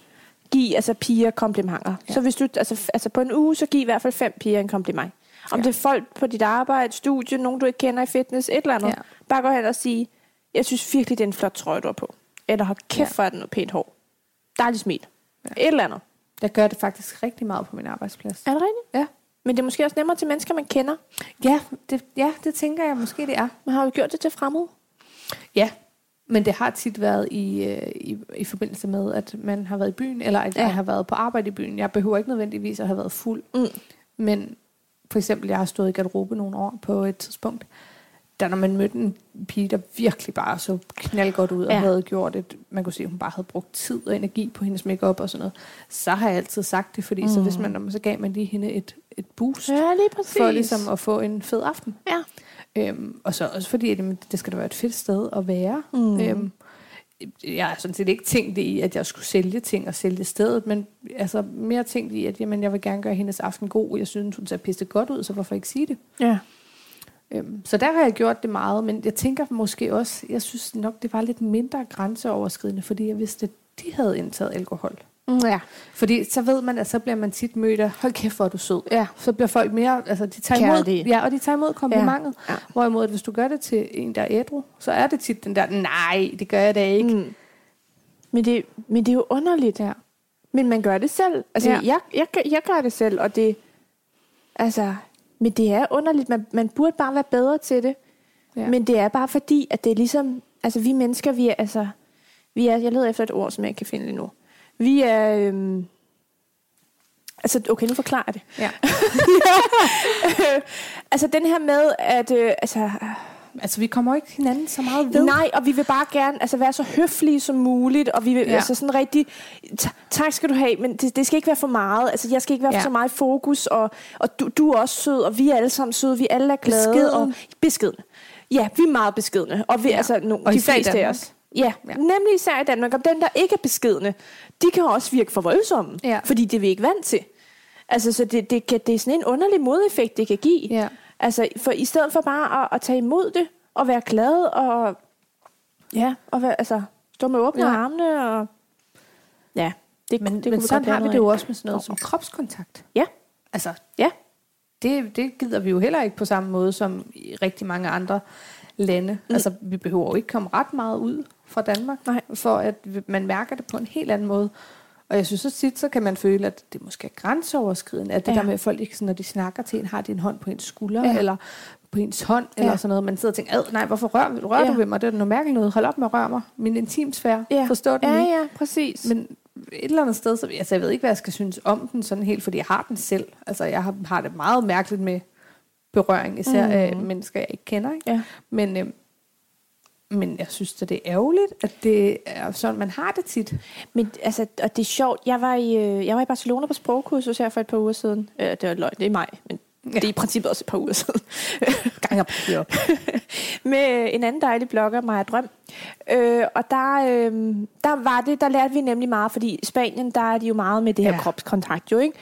give altså, piger komplimenter. Ja. Så hvis du, altså, f- altså på en uge, så giv i hvert fald fem piger en kompliment. Om Ja. ja. det er folk på dit arbejde, studie, nogen du ikke kender i fitness, et eller andet. Ja. Ja. Bare gå hen og sige, jeg synes virkelig, det er en flot trøje, du har på. Eller har kæft, Ja. ja. hvor er den noget pænt hår. Dejligt smil. Ja. Et eller andet. Jeg gør det faktisk rigtig meget på min arbejdsplads. Er det rigtigt? Ja. Men det er måske også nemmere til mennesker, man kender. Ja, det, ja, det tænker jeg måske, det er. Man har jo gjort det til fremmede. Ja. Men det har tit været i, øh, i, i forbindelse med, at man har været i byen, eller at ja. Ja. jeg har været på arbejde i byen. Jeg behøver ikke nødvendigvis at have været fuld. Mm. Men for eksempel, jeg har stået i garderobe nogle år på et tidspunkt, da når man mødte en pige, der virkelig bare så knaldgodt ud og ja. Ja. havde gjort et, man kunne se, at hun bare havde brugt tid og energi på hendes makeup og sådan noget, så har jeg altid sagt det, fordi mm. så, hvis man, så gav man lige hende et, et boost Ja, lige præcis. for ligesom at få en fed aften. Ja. Øhm, og så også fordi, at jamen, det skal da være et fedt sted at være. Mm. Øhm, jeg har sådan set ikke tænkt det i, at jeg skulle sælge ting og sælge stedet, men altså mere tænkt i, at jamen, jeg vil gerne gøre hendes aften god. Jeg synes, hun ser pisse godt ud, så hvorfor ikke sige det? Ja. Øhm, så der har jeg gjort det meget, men jeg tænker måske også, jeg synes nok, det var lidt mindre grænseoverskridende, fordi jeg vidste, at de havde indtaget alkohol. Mm, Ja. Fordi så ved man, at så bliver man tit mødt af, hold kæft, hvor er du sød. Ja. Så bliver folk mere, altså de tager imod, Kærlige. ja, og de tager imod komplimentet. Ja. Ja. Ja. Ja. Hvorimod, at hvis du gør det til en, der er ædru, så er det tit den der, nej, det gør jeg da ikke. Mm. Mm. Men, det, men det er jo underligt. Ja. Men man gør det selv. Altså, Ja. ja. jeg, jeg, gør- jeg gør det selv, og det... Altså, men det er underligt. Man, man burde bare være bedre til det. Ja. Ja. Men det er bare fordi, at det er ligesom... Altså, vi mennesker, vi er altså... Vi er, jeg leder efter et ord, som jeg ikke kan finde lige nu. Vi er... Øhm, altså, okay, nu forklarer jeg det. Ja. altså, den her med, at... Øh, altså, Altså, vi kommer jo ikke hinanden så meget ved. Nej, og vi vil bare gerne altså, være så høflige som muligt, og vi vil Ja. ja. altså sådan rigtig, "Ta- tak skal du have, men det, det skal ikke være for meget, altså jeg skal ikke være Ja. ja. for så meget i fokus, og, og du, du er også sød, og vi er alle sammen søde, vi alle er glade. Beskeden. Og, beskeden. Ja, vi er meget beskedne, og vi Ja. ja. altså no, Og de især i fleste af Danmark. os. Ja, Ja. ja, nemlig især i Danmark, og dem der ikke er beskedne, de kan også virke for voldsomme, Ja. fordi det er vi ikke vant til. Altså, så det, det, kan, det er sådan en underlig modeffekt, det kan give. Ja. Altså, for i stedet for bare at, at tage imod det, og være glad, og ja, og være, altså, stå med åbne Ja. ja. armene, og ja, det, Men, det det men kunne sådan godt har vi lave det jo noget også med sådan noget som kropskontakt. af. Ja, Altså, ja, det, det gider vi jo heller ikke på samme måde som i rigtig mange andre lande. Mm. Altså, vi behøver jo ikke komme ret meget ud fra Danmark, Nej. for at vi- man mærker det på en helt anden måde. Og jeg synes så tit, så kan man føle, at det måske er grænseoverskridende, at det ja. Ja. der med, at folk ikke, sådan, når de snakker til en, har de en hånd på ens skulder, ja. Ja. eller på ens hånd, ja. eller Ja. sådan noget. Man sidder og tænker, "Ad, nej, hvorfor rører, rører ja. Ja. du ved mig? Det er da noget mærkeligt noget. Hold op med at røre mig. Min intimsfære. ja. Forstå den ja, lige. ja, præcis. Men, Men et eller andet sted, så, altså jeg ved ikke, hvad jeg skal synes om den sådan helt, fordi jeg har den selv. Altså jeg har, har det meget mærkeligt med berøring, især mm. af mennesker, jeg ikke kender. Ikke? Ja. Men, øh, men jeg synes da, det er ærgerligt, at det er sådan, man har det tit. men altså, og det er sjovt, jeg var i, øh, jeg var i Barcelona på sprogkursus her for et par uger siden. Øh, det var løgn, det er i maj, men ja. det er i princippet også et par uger siden. Gang op. Ja. med øh, en anden dejlig blogger, Maja Drøm. Øh, og der, øh, der var det, der lærte vi nemlig meget, fordi i Spanien, der er de jo meget med det her Ja. ja. kropskontakt, jo ikke?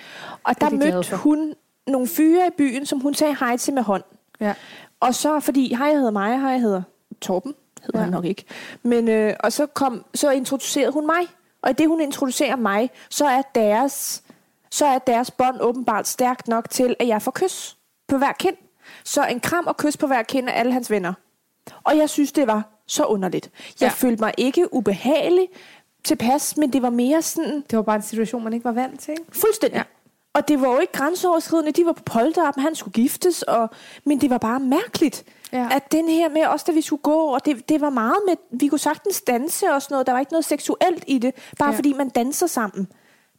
Og Det er de der glade mødte for. hun nogle fyre i byen, som hun sagde hej til med hånd. ja. Og så, fordi hej, jeg hedder Maja, hej, jeg hedder Torben, Ja. hedder ja. han nok ikke. Men, øh, og så, kom, så introducerede hun mig. Og i det, hun introducerer mig, så er deres, så er deres bånd åbenbart stærkt nok til, at jeg får kys på hver kind. Så en kram og kys på hver kind af alle hans venner. Og jeg synes, det var så underligt. Jeg Ja. ja. følte mig ikke ubehagelig tilpas, men det var mere sådan, Det var bare en situation, man ikke var vant til. ikke? Fuldstændig. Ja. Ja. Og det var jo ikke grænseoverskridende. De var på polterappen, han skulle giftes, og, men det var bare mærkeligt. Ja. Ja. At den her med os, da vi skulle gå, og det, det var meget med, vi kunne sagtens danse og sådan noget. Der var ikke noget seksuelt i det, bare Ja. ja. fordi man danser sammen.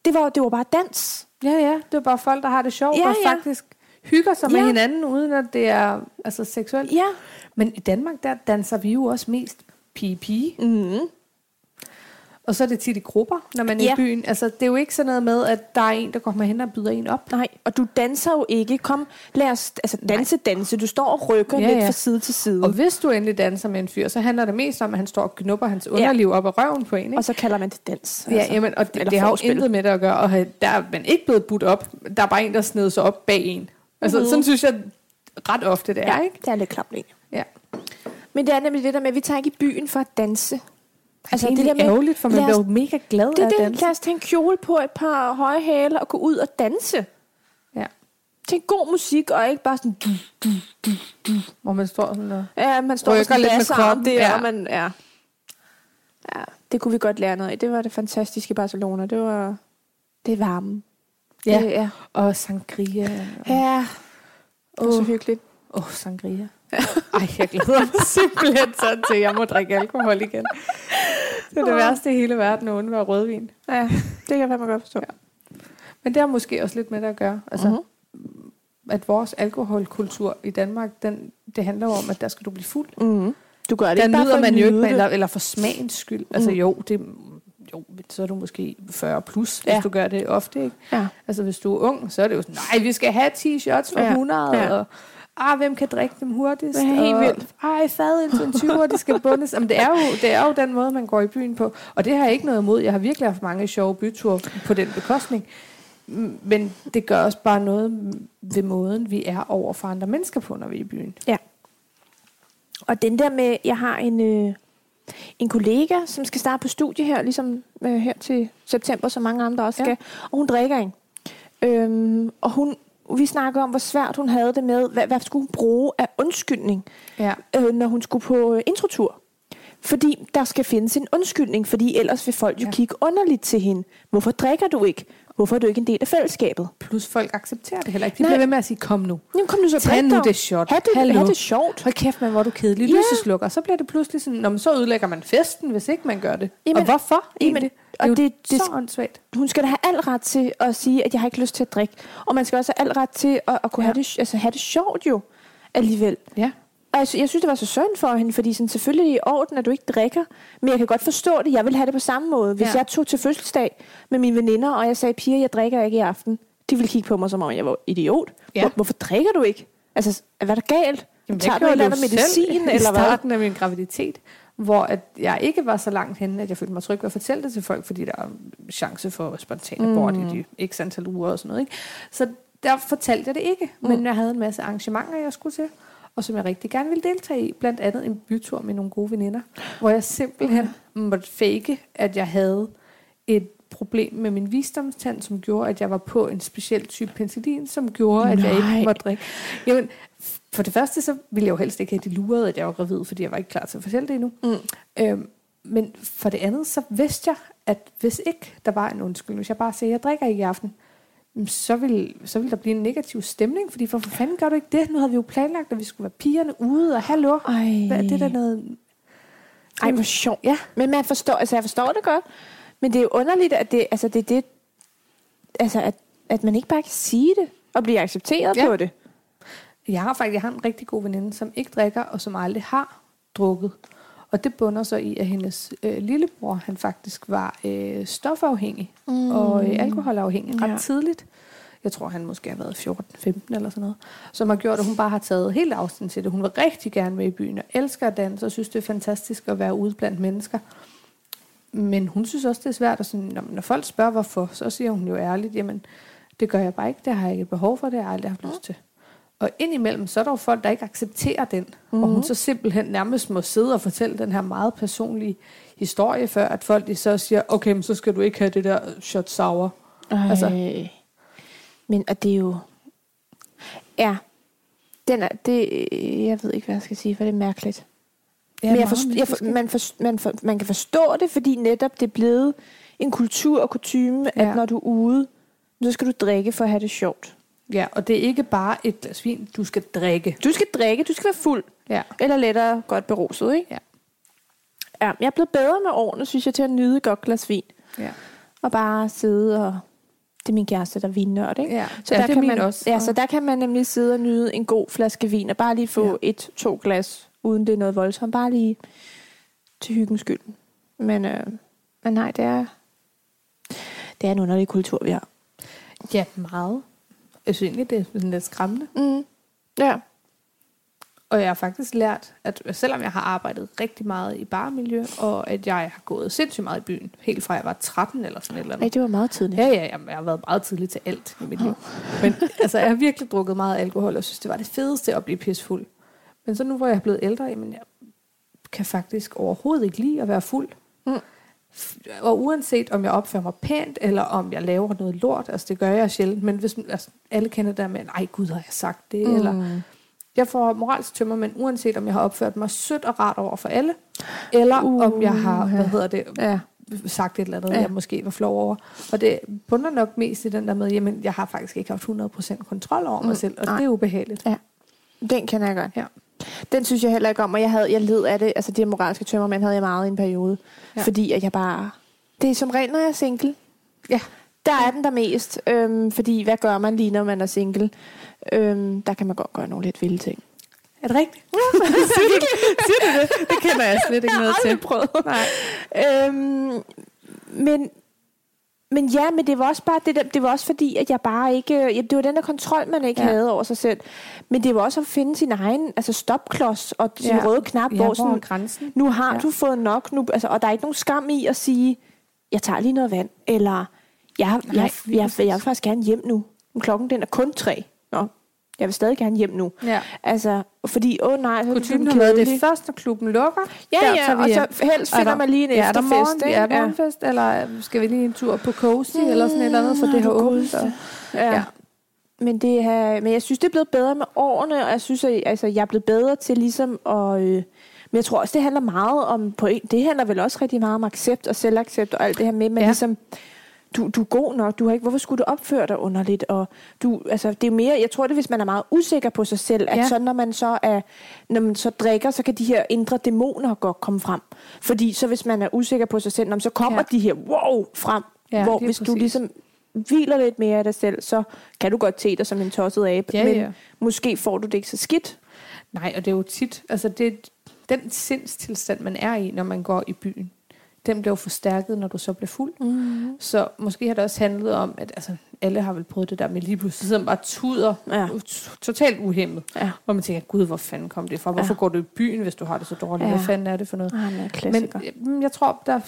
Det var, det var bare dans. Ja, ja. Det var bare folk, der har det sjovt Ja, og ja. faktisk hygger sig med Ja. hinanden, uden at det er altså, seksuelt. Ja. Men i Danmark, der danser vi jo også mest pige-pige. Mm. Og så er det tit i grupper, når man er Mm-hmm. Ja. i byen. Altså, det er jo ikke sådan noget med, at der er en, der kommer hen og byder en op. Nej, og du danser jo ikke. Kom, lad os altså, danse, danse. Du står og rykker Ja, ja, lidt ja. ja. fra side til side. Og Og, hvis du endelig danser med en fyr, så handler det mest om, at han står og knupper hans underliv op af røven på en, ikke? og så kalder man det dans. Ja, altså, jamen, og det, eller det har jo forspil. intet med det at gøre, og have- der er man ikke blevet budt op. Der er bare en, der sned sig op bag en. Altså, mm. sådan synes jeg ret ofte, det er, Mm-hmm. ja, Altså, ikke? det er lidt klamt, egentlig. Ja. Men det er nemlig det der med, at vi tager ikke i byen for at danse. Altså, det, det er ærgerligt, for man lad os bliver jo mega glad Det af er at det. danse. Lad os tage en kjole på, et par høje hæle og gå ud og danse. Ja. Til god musik, og ikke bare sådan... Du, Hvor man står sådan og... ja, man står Rykker og sådan lidt med basser om kroppen, Det, ja. ja. Og man, ja. ja. det kunne vi godt lære noget af. Det var det fantastiske i Barcelona. Det var det varme. Ja. Øh, ja. Og sangria. ja. Det er så Åh, hyggeligt. oh, sangria. Ej, jeg glæder mig simpelthen sådan til, at jeg må drikke alkohol igen. Det er det Åh. værste i hele verden at undvære rødvin. Ja, det kan jeg fandme godt forstå. Ja. Men det har måske også lidt med det at gøre. Altså, mm, Mhm. at vores alkoholkultur i Danmark, den, det handler jo om, at der skal du blive fuld. Mm-hmm. Du gør det Der ikke bare for nyder at man jo nyde ikke, med, det. eller, eller for smagens skyld. Altså Mm. jo, det, jo, så er du måske 40 plus, hvis Ja. ja. du gør det ofte. Ikke? Ja. Altså hvis du er ung, så er det jo sådan, nej, vi skal have 10 shots for Ja. 100, Ja. og ah, hvem kan drikke dem hurtigst? Det er helt og, vildt. Ej, fad indtil en 20 det skal bundes. Jamen, det, er jo, det er jo den måde, man går i byen på. Og det har jeg ikke noget imod. Jeg har virkelig haft mange sjove byture på den bekostning. M- Men det gør også bare noget ved måden, vi er over for andre mennesker på, når vi er i byen. Og den der med, jeg har en, øh, en kollega, som skal starte på studie her, ligesom øh, her til september, som mange andre også Ja. skal. Og hun drikker en. Øhm, og hun, vi snakker om, hvor svært hun havde det med, hvad, hvad skulle hun bruge af undskyldning, Ja. øh, når hun skulle på øh, introtur. Fordi der skal findes en undskyldning, fordi ellers vil folk jo ja. Ja. kigge underligt til hende. Hvorfor drikker du ikke? Hvorfor er du ikke en del af fællesskabet? Plus folk accepterer det heller ikke. De Nej. bliver ved med at sige, kom nu. Jamen kom nu så Tag drik nu dog. det shot. Ha' det, Hallo. ha det sjovt. Hold kæft, men hvor er du kedelig. Ja. Yeah. Lyseslukker. Så bliver det pludselig sådan, Nå, men så ødelægger man festen, hvis ikke man gør det. Jamen, og hvorfor jamen, egentlig? og det, er jo det- det- så åndssvagt. hun skal da have al ret til at sige, at jeg har ikke lyst til at drikke. Og man skal også have al ret til at, at kunne ja. Ja. have, det, altså, have det sjovt jo alligevel. Ja. Og jeg, sy- jeg synes, det var så synd for hende, fordi sådan, selvfølgelig er det i orden, at du ikke drikker. Men jeg kan godt forstå det. Jeg vil have det på samme måde. Hvis ja. Ja. jeg tog til fødselsdag med mine veninder, og jeg sagde, piger, jeg drikker ikke i aften. De ville kigge på mig, som om jeg var idiot. Ja. Hvor, hvorfor drikker du ikke? Altså, hvad er der galt? Jamen, Tager du et eller andet medicin, i eller hvad? starten af min graviditet, hvor at jeg ikke var så langt henne, at jeg følte mig tryg ved at fortælle det til folk, fordi der er chance for spontane mm. abort i de x antal uger og sådan noget. Ikke? Så der fortalte jeg det ikke, men jeg havde en masse arrangementer, jeg skulle til, og som jeg rigtig gerne ville deltage i, blandt andet en bytur med nogle gode veninder, hvor jeg simpelthen måtte fake, at jeg havde et problem med min visdomstand, som gjorde, at jeg var på en speciel type penicillin, som gjorde, at jeg Nej. ikke måtte drikke. Jamen, for det første, så ville jeg jo helst ikke have det luret, at jeg var gravid, fordi jeg var ikke klar til at fortælle det endnu. Mm. Øhm, men for det andet, så vidste jeg, at hvis ikke der var en undskyldning, hvis jeg bare sagde, at jeg drikker ikke i aften, jamen, så ville, så ville der blive en negativ stemning, fordi hvorfor fanden gør du ikke det? Nu havde vi jo planlagt, at vi skulle være pigerne ude, og hallo, Ej. hvad er det der noget... Ej, hvor sjovt. Ja. Men man forstår, altså jeg forstår det godt, men det er jo underligt, at det, altså det, er det altså at, at man ikke bare kan sige det, og blive accepteret ja. Ja. på det. Jeg har faktisk jeg har en rigtig god veninde, som ikke drikker, og som aldrig har drukket. Og det bunder så i, at hendes øh, lillebror, han faktisk var øh, stofafhængig mm. og øh, alkoholafhængig ret Ja. ja. tidligt. Jeg tror, han måske har været 14-15 eller sådan noget. Som har gjort, at hun bare har taget helt afstand til det. Hun vil rigtig gerne med i byen og elsker at danse og synes, det er fantastisk at være ude blandt mennesker. Men hun synes også, det er svært. at sådan, når, når folk spørger, hvorfor, så siger hun jo ærligt, jamen, det gør jeg bare ikke, det har jeg ikke behov for, det har jeg aldrig haft lyst til. Og indimellem, så er der jo folk, der ikke accepterer den. Mm-hmm. Og hun så simpelthen nærmest må sidde og fortælle den her meget personlige historie, før at folk de så siger, okay, men så skal du ikke have det der shot sour. Ej. Altså. Men og det er jo... Ja, den er, det, jeg ved ikke, hvad jeg skal sige, for det er mærkeligt. Ja, men jeg meget forst, jeg for, menneskeligt. man, for, man, for, man kan forstå det, fordi netop det er blevet en kultur og kutume, ja. Ja. at når du er ude, så skal du drikke for at have det sjovt. Ja, og det er ikke bare et glas vin, du skal drikke. Du skal drikke, du skal være fuld, Ja. Eller lettere godt beruset, ikke? Ja. ja. Jeg er blevet bedre med årene, synes jeg, til at nyde et godt glas vin. ja. Og bare sidde og... Det er min kæreste, der er vinnørd, ikke? Ja. Så, Ja, der det er kan min man, også. Ja, så der kan man nemlig sidde og nyde en god flaske vin, og bare lige få ja. et, to glas, uden det er noget voldsomt. Bare lige til hyggens skyld. Men, øh, men nej, det er, det er en underlig kultur, vi har. Ja, meget. Jeg synes egentlig, det er sådan lidt skræmmende. Mm. Ja. Og jeg har faktisk lært, at selvom jeg har arbejdet rigtig meget i barmiljø, og at jeg har gået sindssygt meget i byen, helt fra jeg var 13 eller sådan et eller andet. Ej, det var meget tidligt. Ja, ja, jamen, jeg har været meget tidlig til alt i mit liv. Men altså, jeg har virkelig drukket meget alkohol, og synes, det var det fedeste at blive pissfuld. Men så nu, hvor jeg er blevet ældre, jamen, jeg kan faktisk overhovedet ikke lide at være fuld. Mm. F- Og uanset om jeg opfører mig pænt, eller om jeg laver noget lort, altså det gør jeg sjældent, men hvis altså, alle kender det der med, nej gud, har jeg sagt det, mm. eller jeg får moralsk tømmer, men uanset om jeg har opført mig sødt og rart over for alle, eller uh, om jeg har, hvad hedder det, Ja. sagt et eller andet, Ja. ja. jeg måske var flov over. Og det bunder nok mest i den der med, jamen, jeg har faktisk ikke haft 100% kontrol over mig Mm, mm, selv, og nej. nej. det er ubehageligt. Den kender jeg godt. Ja. Den synes jeg heller ikke om, og jeg, havde, jeg led af det. Altså det her moralske tømmermænd havde jeg meget i en periode. Ja. Ja. Fordi at jeg bare... Det er som regel, når jeg er single. Ja. Der er den der mest. Øhm, fordi hvad gør man lige, når man er single? Øhm, der kan man godt gøre nogle lidt vilde ting. Er det rigtigt? Siger du det? Det kender jeg slet ikke noget til. prøvet. Nej. Øhm, men, men ja, men det var også bare det, der, det var også fordi, at jeg bare ikke... øh, Ja, det var den der kontrol, man ikke ja. Ja. havde over sig selv. Men det var også at finde sin egen altså stopklods og sin ja. Ja. røde knap, ja, hvor hvor er sådan, grænsen? nu har ja. Ja. du fået nok, nu, altså, og der er ikke nogen skam i at sige, jeg tager lige noget vand, eller jeg, jeg, lige jeg, jeg, præcis. jeg vil faktisk gerne hjem nu. Men Klokken den er kun tre. Nå, jeg vil stadig gerne hjem nu. Ja. Altså, fordi, åh oh nej, så er du Kutumen blevet har været, det er kedelig. først, når klubben lukker. Ja, der ja, tager vi og hjem. så helst Og er finder der- man lige en Ja, er der efterfest, morgen, ikke? er der Ja. morgenfest, eller øh, skal vi lige en tur på Cozy, mm, eller sådan et eller andet, for Mm, det har du åbent. godeste. Og, Ja. ja. Ja. Men, det er, men jeg synes, det er blevet bedre med årene, og jeg synes, at, altså, jeg er blevet bedre til ligesom at... Øh, men jeg tror også, det handler meget om... På en, det handler vel også rigtig meget om accept og selvaccept og alt det her med, men ja. Ja. ligesom... Du, du er god nok, du har ikke, hvorfor skulle du opføre dig underligt? Og du, altså, det er jo mere, jeg tror det, er, hvis man er meget usikker på sig selv, at ja. Ja. så når man så er, når man så drikker, så kan de her indre dæmoner godt komme frem. Fordi så hvis man er usikker på sig selv, nå, men så kommer ja. Ja. de her wow frem, ja, Ja, hvor lige hvis du præcis. ligesom hviler lidt mere af dig selv, så kan du godt se dig som en tosset abe, Ja, men ja. måske får du det ikke så skidt. Nej, og det er jo tit, altså det, den sindstilstand, man er i, når man går i byen, den bliver jo forstærket, når du så bliver fuld. Mm. Så måske har det også handlet om, at altså, alle har vel prøvet det der med lige pludselig sidder man bare og tuder, Ja. ja. totalt uhemmet. Ja. Hvor man tænker, gud, hvor fanden kom det fra? Hvorfor Ja. ja. går du i byen, hvis du har det så dårligt? Ja. Ja. Hvad fanden er det for noget? Ah, men, Men mm, jeg tror, der,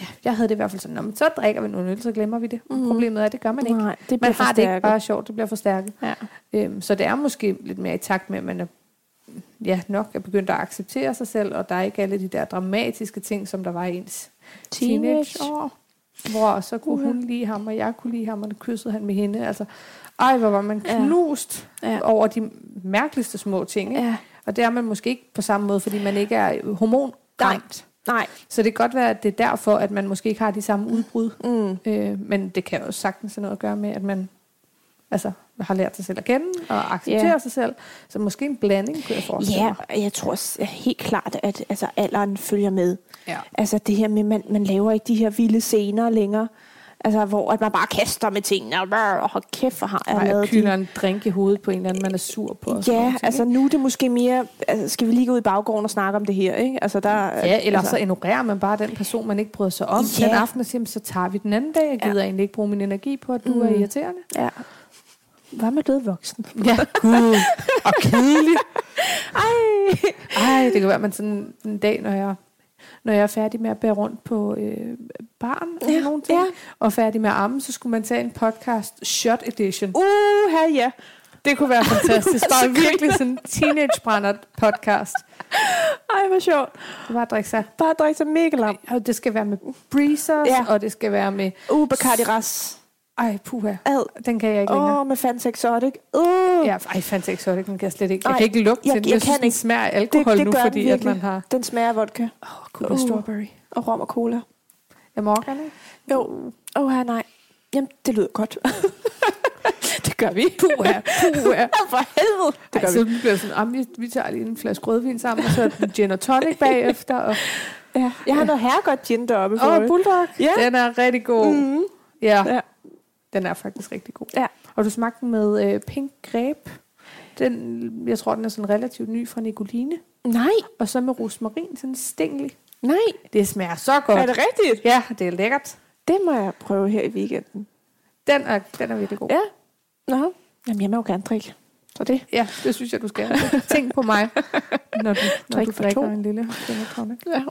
ja, jeg havde det i hvert fald sådan, "Nå, men så drikker vi nogle øl, så glemmer vi det. Mhm. Mm. Problemet er, at det gør man ikke. Nej, det Man bliver har det ikke forstærket. bare sjovt, det bliver forstærket. Ja. Øhm, så det er måske lidt mere i takt med, at man er, ja, nok er begyndt at acceptere sig selv, og der er ikke alle de der dramatiske ting, som der var i ens teenageår. Hvor så kunne Uha. hun lide ham, og jeg kunne lide ham, og det kyssede han med hende. Altså, ej, hvor var man Ja. knust Ja. ja. over de mærkeligste små ting. Ikke? Ja. Og det er man måske ikke på samme måde, fordi man ikke er hormonramt. Nej. Så det kan godt være, at det er derfor, at man måske ikke har de samme udbrud. Mm. Øh, men det kan jo sagtens have noget at gøre med, at man altså, har lært sig selv at kende og acceptere Ja. yeah. sig selv. Så måske en blanding, kunne jeg forestille Ja, mig. og jeg tror s- helt klart, at altså, alderen følger med. Ja. Altså det her med, man, man laver ikke de her vilde scener længere. Altså, hvor at man bare kaster med tingene, og brr, og hold kæft, hvor har jeg Ej, lavet jeg de- kylder en drink i hovedet på en eller anden, man er sur på. og sådan Ja, nogle ting, altså nu er det måske mere, altså, skal vi lige gå ud i baggården og snakke om det her, ikke? Altså der, Ja, eller altså, så ignorerer man bare den person, man ikke bryder sig om. Ja. Ja. Den aften og siger, "Men så tager vi den anden dag. Jeg Ja. gider ja. egentlig ikke bruge min energi på, at du mm. er irriterende. Ja. Hvad med døde voksen? Ja, gud. Og kedelig. Ej! Ej, det kan være, at man sådan en dag, når jeg, når jeg er færdig med at bære rundt på øh, barn eller Ja, ja, nogle ting, ja. ja. og færdig med at amme, så skulle man tage en podcast Shot Edition. Uha, ja. Det kunne være fantastisk. Uh. Så Bare virkelig griner. sådan en teenagebrænder podcast. Ej, hvor sjovt. Det var at drikke sig. Bare drikke sig mega lam. Og det skal være med breezers, Ja. ja. og det skal være med... Uh, Bacardi Ras. Ej, puha. Ad. Den kan jeg ikke længere. Åh, oh, med Fanta Exotic. Uh. Ja, ej, Fanta Exotic, den kan jeg slet ikke. Jeg Ej, kan ikke lugte jeg- til den. jeg Jeg, synes, kan den ikke. smager af alkohol det, det nu, gør den fordi at virkelig. man har... Den smager af vodka Åh, oh, Uh. Cuba Strawberry. og rom og cola. Er Morgan, ikke? Jo. Åh, oh, nej. Jamen, det lyder godt. det gør vi. Puha, puha. Åh, for helvede. Det Ej, gør så vi. vi. bliver sådan, "Am, vi, vi tager lige en flaske rødvin sammen, og så er det gin og tonic bagefter. Og, Ja. Jeg har noget herregodt gin deroppe. og Åh, bulldog. Ja. Den er rigtig god. Mm. mm. Ja. Ja. ja. Den er faktisk rigtig god. Ja. Og du smagte den med øh, pink greb. Den, jeg tror, den er sådan relativt ny fra Nicoline. Nej, Og så med rosmarin, sådan stingelig. nej. Det smager så Er godt. det rigtigt? Ja, det er lækkert. Det må jeg prøve her i weekenden. Den er, den er virkelig god. Ja. Nå. Jamen, jeg må jo gerne drikke. Så det. Ja, det synes jeg, du skal. Tænk på mig, når du, når Drik du for drikker to. en lille gin og tonic. Ja,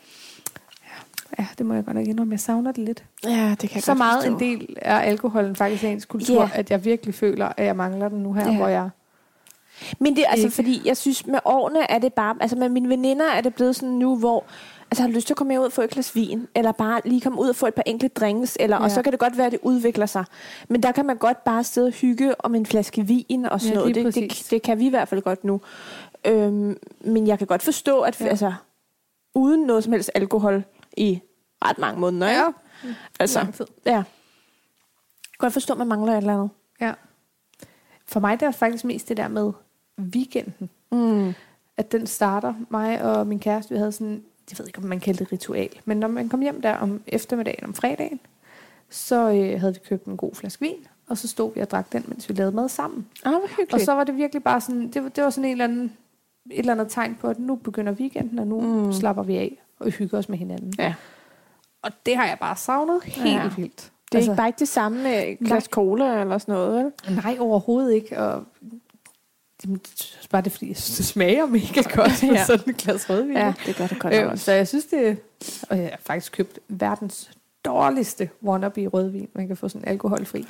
Ja, det må jeg godt nok indrømme. Jeg savner det lidt. ja det kan jeg så godt meget forstå. en del af alkoholen faktisk er ens kultur, Ja. at jeg virkelig føler, at jeg mangler den nu her, Ja. hvor jeg... Men det er altså, Ikke. fordi jeg synes, med årene er det bare... Altså, med mine veninder er det blevet sådan nu, hvor... Altså, jeg har lyst til at komme med ud og få et glas vin, eller bare lige komme ud og få et par enkle drinks, eller, ja. og Ja. så kan det godt være, at det udvikler sig. Men der kan man godt bare sidde og hygge om en flaske vin og sådan Ja, noget. lige Det, det, præcis. det kan vi i hvert fald godt nu. Øhm, men jeg kan godt forstå, at ja. Ja. altså, uden noget som helst alkohol i ret mange måneder, Ja. ikke? Altså, Lang tid. ja. Jeg kan godt forstå, at man mangler et eller andet. Ja. For mig der er det faktisk mest det der med weekenden. Mm. At den starter. Mig og min kæreste, vi havde sådan, jeg ved ikke om man kaldte det ritual, men når man kom hjem der om eftermiddagen, om fredagen, så øh, havde vi købt en god flaske vin, og så stod vi og drak den, mens vi lavede mad sammen. Ah, hvor hyggeligt. Og så var det virkelig bare sådan, det var, det var sådan en eller anden, et eller andet tegn på, at nu begynder weekenden, og nu Mm. mm. slapper vi af og hygger os med hinanden. ja. Og det har jeg bare savnet helt Ja. ja. vildt. Det er altså, ikke bare ikke det samme med et glas cola eller sådan noget, vel? Nej, overhovedet ikke. Og Jamen, jeg synes bare, det er, fordi jeg synes, det smager mega godt med Ja. sådan et glas rødvin. Ja, det gør det godt nok Øh, så også. jeg synes, det Og jeg har faktisk købt verdens dårligste wannabe rødvin, man kan få sådan alkoholfri.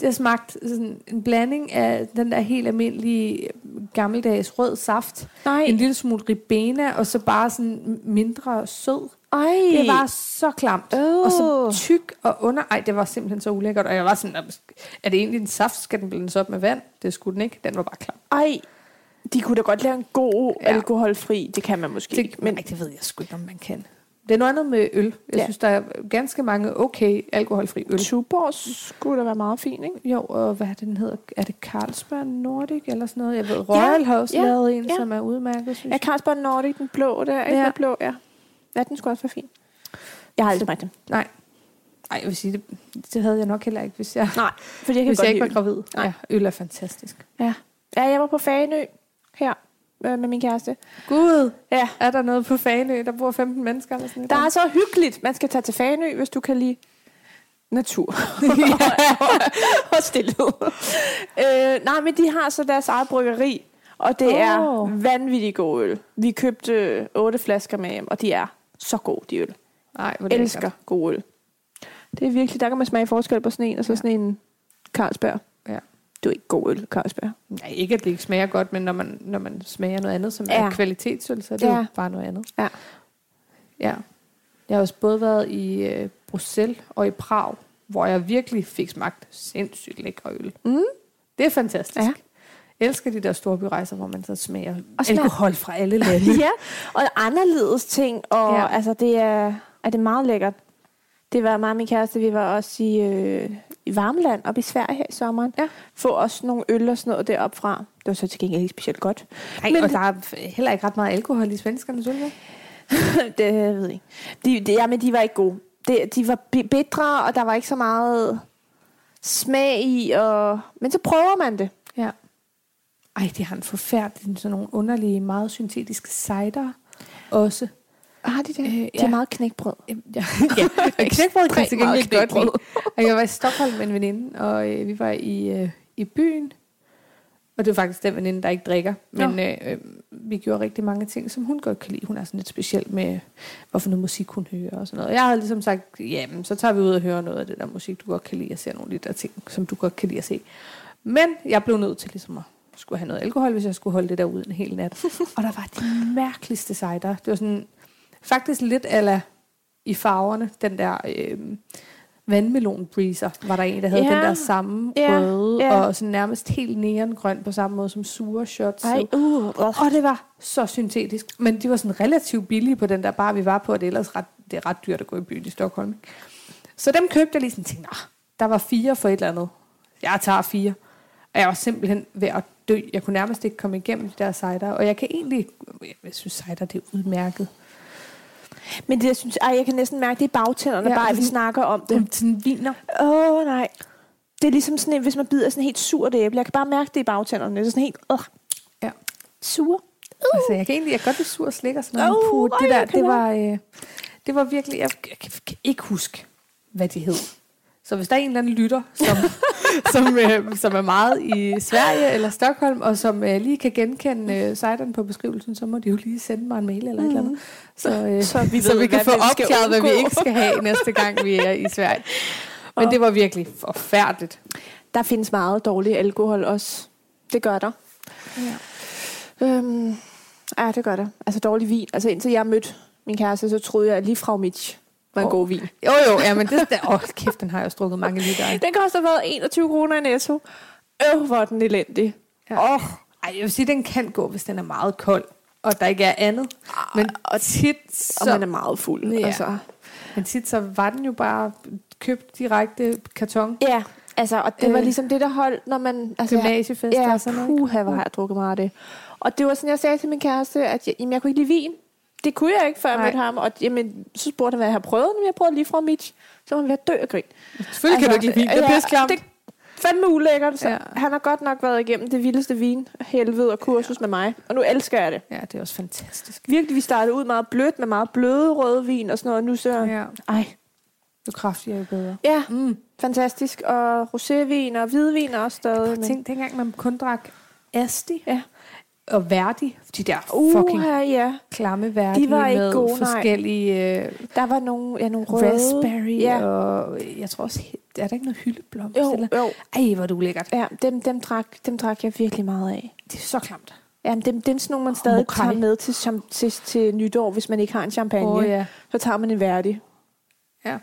Det har smagt sådan en blanding af den der helt almindelige øh, gammeldags rød saft, Nej, en lille smule ribena, og så bare sådan mindre sød. ej. Det var så klamt. Øh. Og så tyk og under... Ej, det var simpelthen så ulækkert. Og jeg var sådan, "Nå, er det egentlig en saft? Skal den blandes op med vand? Det skulle den ikke. Den var bare klam. Ej, de kunne da godt lave en god ja. Ja. alkoholfri. Det kan man måske ikke. Det, men ej, det ved jeg sgu ikke, om man kan. Det er noget andet med øl. Jeg Ja. ja. synes, der er ganske mange okay alkoholfri øl. Tuborg skulle da være meget fint, ikke? Jo, og hvad er det, den hedder? Er det Carlsberg Nordic eller sådan noget? Jeg ved, Royal har også ja, ja, lavet en, ja. ja. som er udmærket, synes Ja, jeg. Carlsberg Nordic, den blå der, ikke? Mm. Ja. Den blå, ja. Ja, den skulle også være fin. Jeg har aldrig Så- smagt den. Nej. Nej, jeg vil sige, det, det havde jeg nok heller ikke, hvis jeg, Nej, fordi jeg kan hvis godt jeg ikke var lide gravid. Nej. Ja, øl er fantastisk. øl. ja. ja, jeg var på Faneø her øh, med min kæreste. Gud, Ja. er der noget på Faneø, der bor 15 mennesker eller sådan Der er så hyggeligt. Man skal tage til Faneø, hvis du kan lide natur og stillhed. Øh, nej, men de har så deres eget bryggeri, og det oh. er Åh. vanvittigt god øl. Vi købte øh, otte flasker med hjem, og de er så gode, de øl. Nej, hvor Jeg lækkert. elsker god øl. Det er virkelig, der kan man smage forskel på sådan en, og så Ja. sådan en Carlsberg. Ja. Det er ikke god øl, Carlsberg. Nej, ikke at det ikke smager godt, men når man, når man smager noget andet, som ja. Ja. er kvalitetsøl, så er det Ja. ja. jo bare noget andet. Ja. ja. Jeg har også både været i øh, Bruxelles og i Prag, hvor jeg virkelig fik smagt sindssygt lækker øl. Mm. Det er fantastisk. Ja. Ja. Jeg elsker de der store byrejser, hvor man så smager Og smager- alkohol fra alle lande. ja, og anderledes ting, og ja. Ja. altså det er, er det meget lækkert. Det var mig og min kæreste, vi var også i, øh, i Varmland op i Sverige her i sommeren. Ja. Få også nogle øl og sådan noget deroppe fra. Det var så til gengæld ikke specielt godt. Nej, Men- og der er f- heller ikke ret meget alkohol i svenskernes øl, vel? det jeg ved jeg ikke. De, de, ja, men de var ikke gode. De, de var bi- bitre, og der var ikke så meget smag i. Og, men så prøver man det. Ja. Ej, de har en forfærdelig, sådan nogle underlige, meget syntetiske cider også. Har de det? Øh, Øh, ja. De ja. er meget knækbrød. Jamen, Ja, ja. Og knækbrød kan jeg til Ekstremt meget gengæld godt knækbrød. lide. Og jeg var i Stockholm med en veninde, og øh, vi var i, øh, i byen. Og det var faktisk den veninde, der ikke drikker. Men øh, øh, vi gjorde rigtig mange ting, som hun godt kan lide. Hun er sådan lidt speciel med, hvorfor noget musik hun hører og sådan noget. Og jeg havde ligesom sagt, jamen, så tager vi ud og hører noget af det der musik, du godt kan lide, og ser nogle af de der ting, som du godt kan lide at se. Men jeg blev nødt til ligesom at skulle have noget alkohol, hvis jeg skulle holde det der ud en hel nat. og der var de mærkeligste cider. Det var sådan, faktisk lidt ala i farverne, den der øh, vandmelon breezer, var der en, der havde Ja. den der samme Ja, røde, ja. og sådan nærmest helt neongrøn på samme måde som sure shots. Ej, uh, Og det var så syntetisk. Men de var sådan relativt billige på den der bar, vi var på, og det er ellers ret, det er ret dyrt at gå i byen i Stockholm. ikke? Så dem købte jeg lige sådan tænkte, "Nå, der var fire for et eller andet. Jeg tager fire. Og jeg var simpelthen ved at dø. Jeg kunne nærmest ikke komme igennem de der cider. Og jeg kan egentlig... Jeg synes, cider det er udmærket. Men det, jeg synes, ej, jeg kan næsten mærke, det er bagtænderne, ja, Ja, bare at vi sådan- snakker om det. Det er sådan viner. Åh, oh, nej. Det er ligesom sådan, en- hvis man bider sådan en helt surt æble. Jeg kan bare mærke det i bagtænderne. Det er sådan helt øh, Ja. sur. Altså, jeg kan egentlig jeg kan godt lide sur slik og sådan noget. Uh, men puh, ej, det der, jeg kan det var, øh, det var virkelig... Jeg, jeg kan, kan ikke huske, hvad de hed. Så hvis der er en eller anden lytter, som, som, øh, som er meget i Sverige eller Stockholm, og som øh, lige kan genkende øh, sideren på beskrivelsen, så må de jo lige sende mig en mail eller et eller andet. Så, øh, Mm. Så vi så ved, vi kan hvad få vi skal opklaret, hvad vi undgå. ikke skal have næste gang, vi er i Sverige. Men det var virkelig forfærdeligt. Der findes meget dårlig alkohol også. Det gør der. Ja. Øhm, ja, det gør der. Altså dårlig vin. Altså indtil jeg mødte min kæreste, så troede jeg, at lige fra Mitch var en oh. Åh. god vin. Jo, jo, ja, men det... Åh, oh, kæft, den har jeg også drukket mange liter af. Den koster været 21 kroner i Netto. Øh, hvor er den elendig. Ja. Oh, ej, jeg vil sige, den kan gå, hvis den er meget kold, og der ikke er andet. Men tit, Ah, Og så... man er meget fuld. Ja. Altså. Men tit så var den jo bare købt direkte karton. Ja, altså, og det øh, var Øh. ligesom det, der holdt, når man... Altså, Gymnasiefester ja, og sådan noget. ikke? Puha, hvor har jeg drukket meget af det. Og det var sådan, jeg sagde til min kæreste, at jeg, jamen, jeg kunne ikke lide vin. Det kunne jeg ikke, før jeg Nej. mødte ham. Og jamen, så spurgte han, hvad jeg har prøvet. Når jeg har prøvet lige fra mit, så var han ved at dø af grin. Selvfølgelig kan du ikke lide vin. Det er pisklamt. altså, Det er fandme ulækkert. Så Ja. ja. Han har godt nok været igennem det vildeste vinhelvede og kursus ja. med mig. Og nu elsker jeg det. Ja, det er også fantastisk. Virkelig, vi startede ud meget blødt med meget bløde rødvin og sådan noget. og Nu så... Ja. Ja, Ej. jo kraftigere, jo bedre. Ja, Mm. fantastisk. Og rosévin og hvidvin er også stadig. Prøv men- at tænk, dengang man kun drak Asti Ja. og Verdi. De der Uh, fucking ja. klamme Verdi De var ikke med gode, nej. forskellige øh, Der var nogle, ja, nogle røde. raspberry Ja. og jeg tror også, er der ikke noget hyldeblomst? Jo, Eller? jo. Ej, hvor er det ulækkert. Ja, dem, dem, drak, dem drak jeg virkelig meget af. Det er så klamt. Jamen, dem, dem er sådan nogle, man stadig Mokai. tager med til, som, til, til nytår, hvis man ikke har en champagne. Åh, ja. Så tager man en værdig. Ja.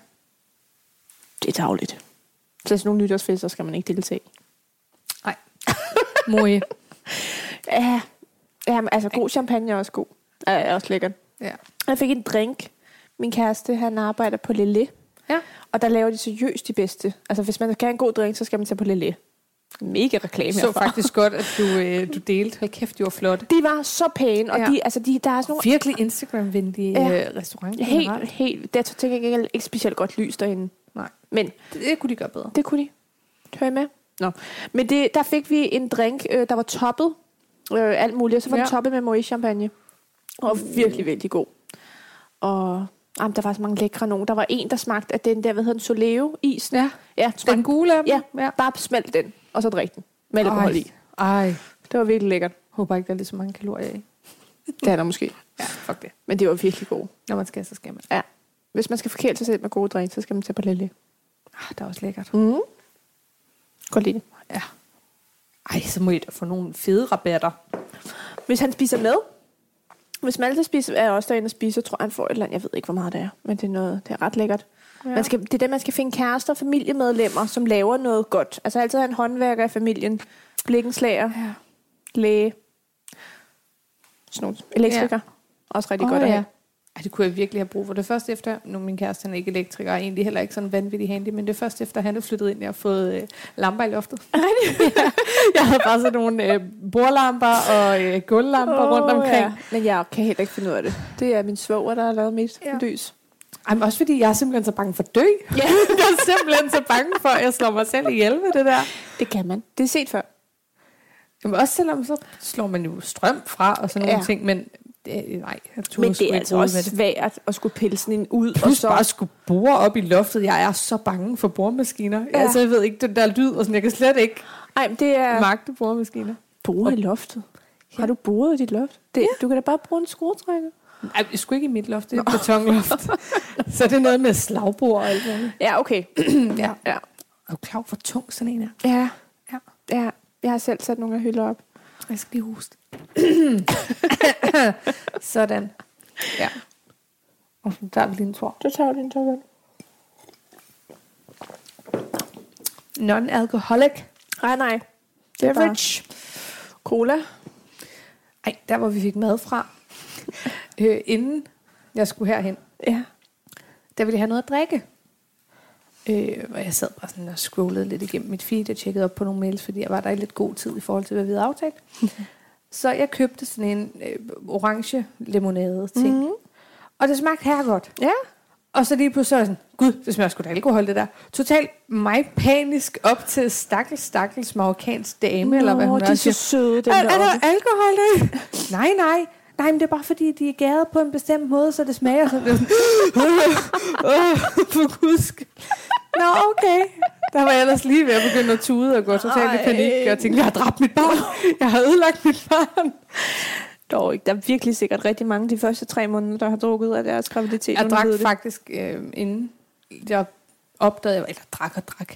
Det er tageligt. Så sådan nogle nytårsfester skal man ikke deltage i. Nej. Moe. Ja, ja men, altså god champagne er også god. Ja, er også lækkert. Ja. Jeg fik en drink. Min kæreste, han arbejder på Lille. Ja. Og der laver de seriøst de bedste. Altså, hvis man skal have en god drink, så skal man tage på Lille. Mega reklame Så faktisk godt, at du, øh, du delte. Hold kæft, de var flotte. De var så pæne, og Ja. ja. de, altså, de, der er sådan nogle Virkelig Instagram-venlige ja. Ja. restaurant. Helt, generelt. helt. Der tænker jeg ikke, ikke specielt godt lys derinde. Nej. Men Det, det kunne de gøre bedre. det kunne de. Hør I med? Nå. Men det, der fik vi en drink, øh, der var toppet. Øh, alt muligt. Og så var ja. Ja. den toppet med Moët champagne. Og virkelig, virkelig god. Og jamen, der var så mange lækre nogen. Der var en, der smagte af den der, hvad hedder den, Soleo-isen. Ja. Ja, Den smagte. gule af dem. Ja. ja. Bare smelt den, og så drik den. Med alkohol i. Ej. Ej. Det var virkelig lækkert. Håber ikke, der er lige så mange kalorier i. Det er der måske. Ja, fuck det. Men det var virkelig god. Når man skal, så skal man. Hvis man skal forkæle sig selv med gode drinks, så skal man tage på Lille. Ah, det er også lækkert. Mm. Godt lide det. Ja. Ej, så må I da få nogle fede rabatter. Hvis han spiser med. Hvis Malte spiser, er også derinde og spiser, tror jeg, han får et eller andet. Jeg ved ikke, hvor meget det er, men det er, noget, det er ret lækkert. Ja. Man skal, det er der, man skal finde kærester og familiemedlemmer, som laver noget godt. Altså altid have en håndværker i familien, blikkenslager, Ja. læge, snot, elektriker. Ja. Også rigtig oh, godt at ja. have. Ej, det kunne jeg virkelig have brug for. Det er først efter, nu er min kæreste han er ikke elektriker, og egentlig heller ikke sådan vanvittig handy, men det er først efter, han er flyttet ind, jeg har fået øh, lamper i loftet. ja, jeg havde bare sådan nogle øh, bordlamper og øh, gulvlamper oh, rundt omkring. Ja. Ja. Men jeg kan heller ikke finde ud af det. Det er min svoger, der har lavet mit Ja. ja. lys. Ej, men også fordi jeg er simpelthen så bange for at dø. Ja. jeg er simpelthen så bange for, at jeg slår mig selv ihjel med det der. Det kan man. Det er set før. Jamen også selvom så slår man jo strøm fra og sådan nogle ja. Ja. ting, men det, nej, jeg turde Men sgu det er ikke altså rode også med det. svært at skulle pille sådan en ud. Plus bare at skulle bore op i loftet. Jeg er så bange for boremaskiner. Ja. Ja. Altså, jeg ved ikke, den der lyd, og sådan, jeg kan slet ikke Ej, men det er... ja. magte boremaskiner. Bore i loftet? Har du boret i dit loft? Det, ja. Du kan da bare bruge en skruetrækker. Ej, det skulle ikke i mit loft, det er et betonloft. så det er noget med slagbord og alt muligt. Ja, okay. Mm, ja. Ja. Er du klar over, hvor tung sådan en er? Ja. Ja. ja. Jeg har selv sat nogle af hylder op. Jeg skal lige huske. sådan. Ja. Og så tager vi lige en tår. Så tager du din top Non-alcoholic. Nej, nej. Beverage. Cola. Ej, der hvor vi fik mad fra, øh, inden jeg skulle herhen, Ja. der ville jeg have noget at drikke. Øh, og jeg sad bare sådan og scrollede lidt igennem mit feed og tjekkede op på nogle mails, fordi jeg var der i lidt god tid i forhold til, hvad vi havde aftalt. Så jeg købte sådan en øh, orange limonade ting. Mhm. Mm. Og det smagte her godt. Ja. Og så lige pludselig så var jeg sådan, gud, det smager sgu da alkohol, det der. Totalt mig panisk op til stakkels, stakkels marokkansk dame, Nå, eller hvad hun de er. er og siger, så søde, den er, er der der alkohol i? nej, nej. Nej, men det er bare fordi, de er gæret på en bestemt måde, så det smager sådan. Det var sådan "Åh, for guds skyld." Nå, okay. Der var jeg ellers lige ved at begynde at tude og gå totalt i Ej. panik. Og jeg tænkte, jeg har dræbt mit barn. Jeg har ødelagt mit barn. Dog ikke. Der er virkelig sikkert rigtig mange de første tre måneder, der har drukket af deres graviditet. Jeg uden at drak vide det. faktisk, øh, inden jeg opdagede, eller drak og drak,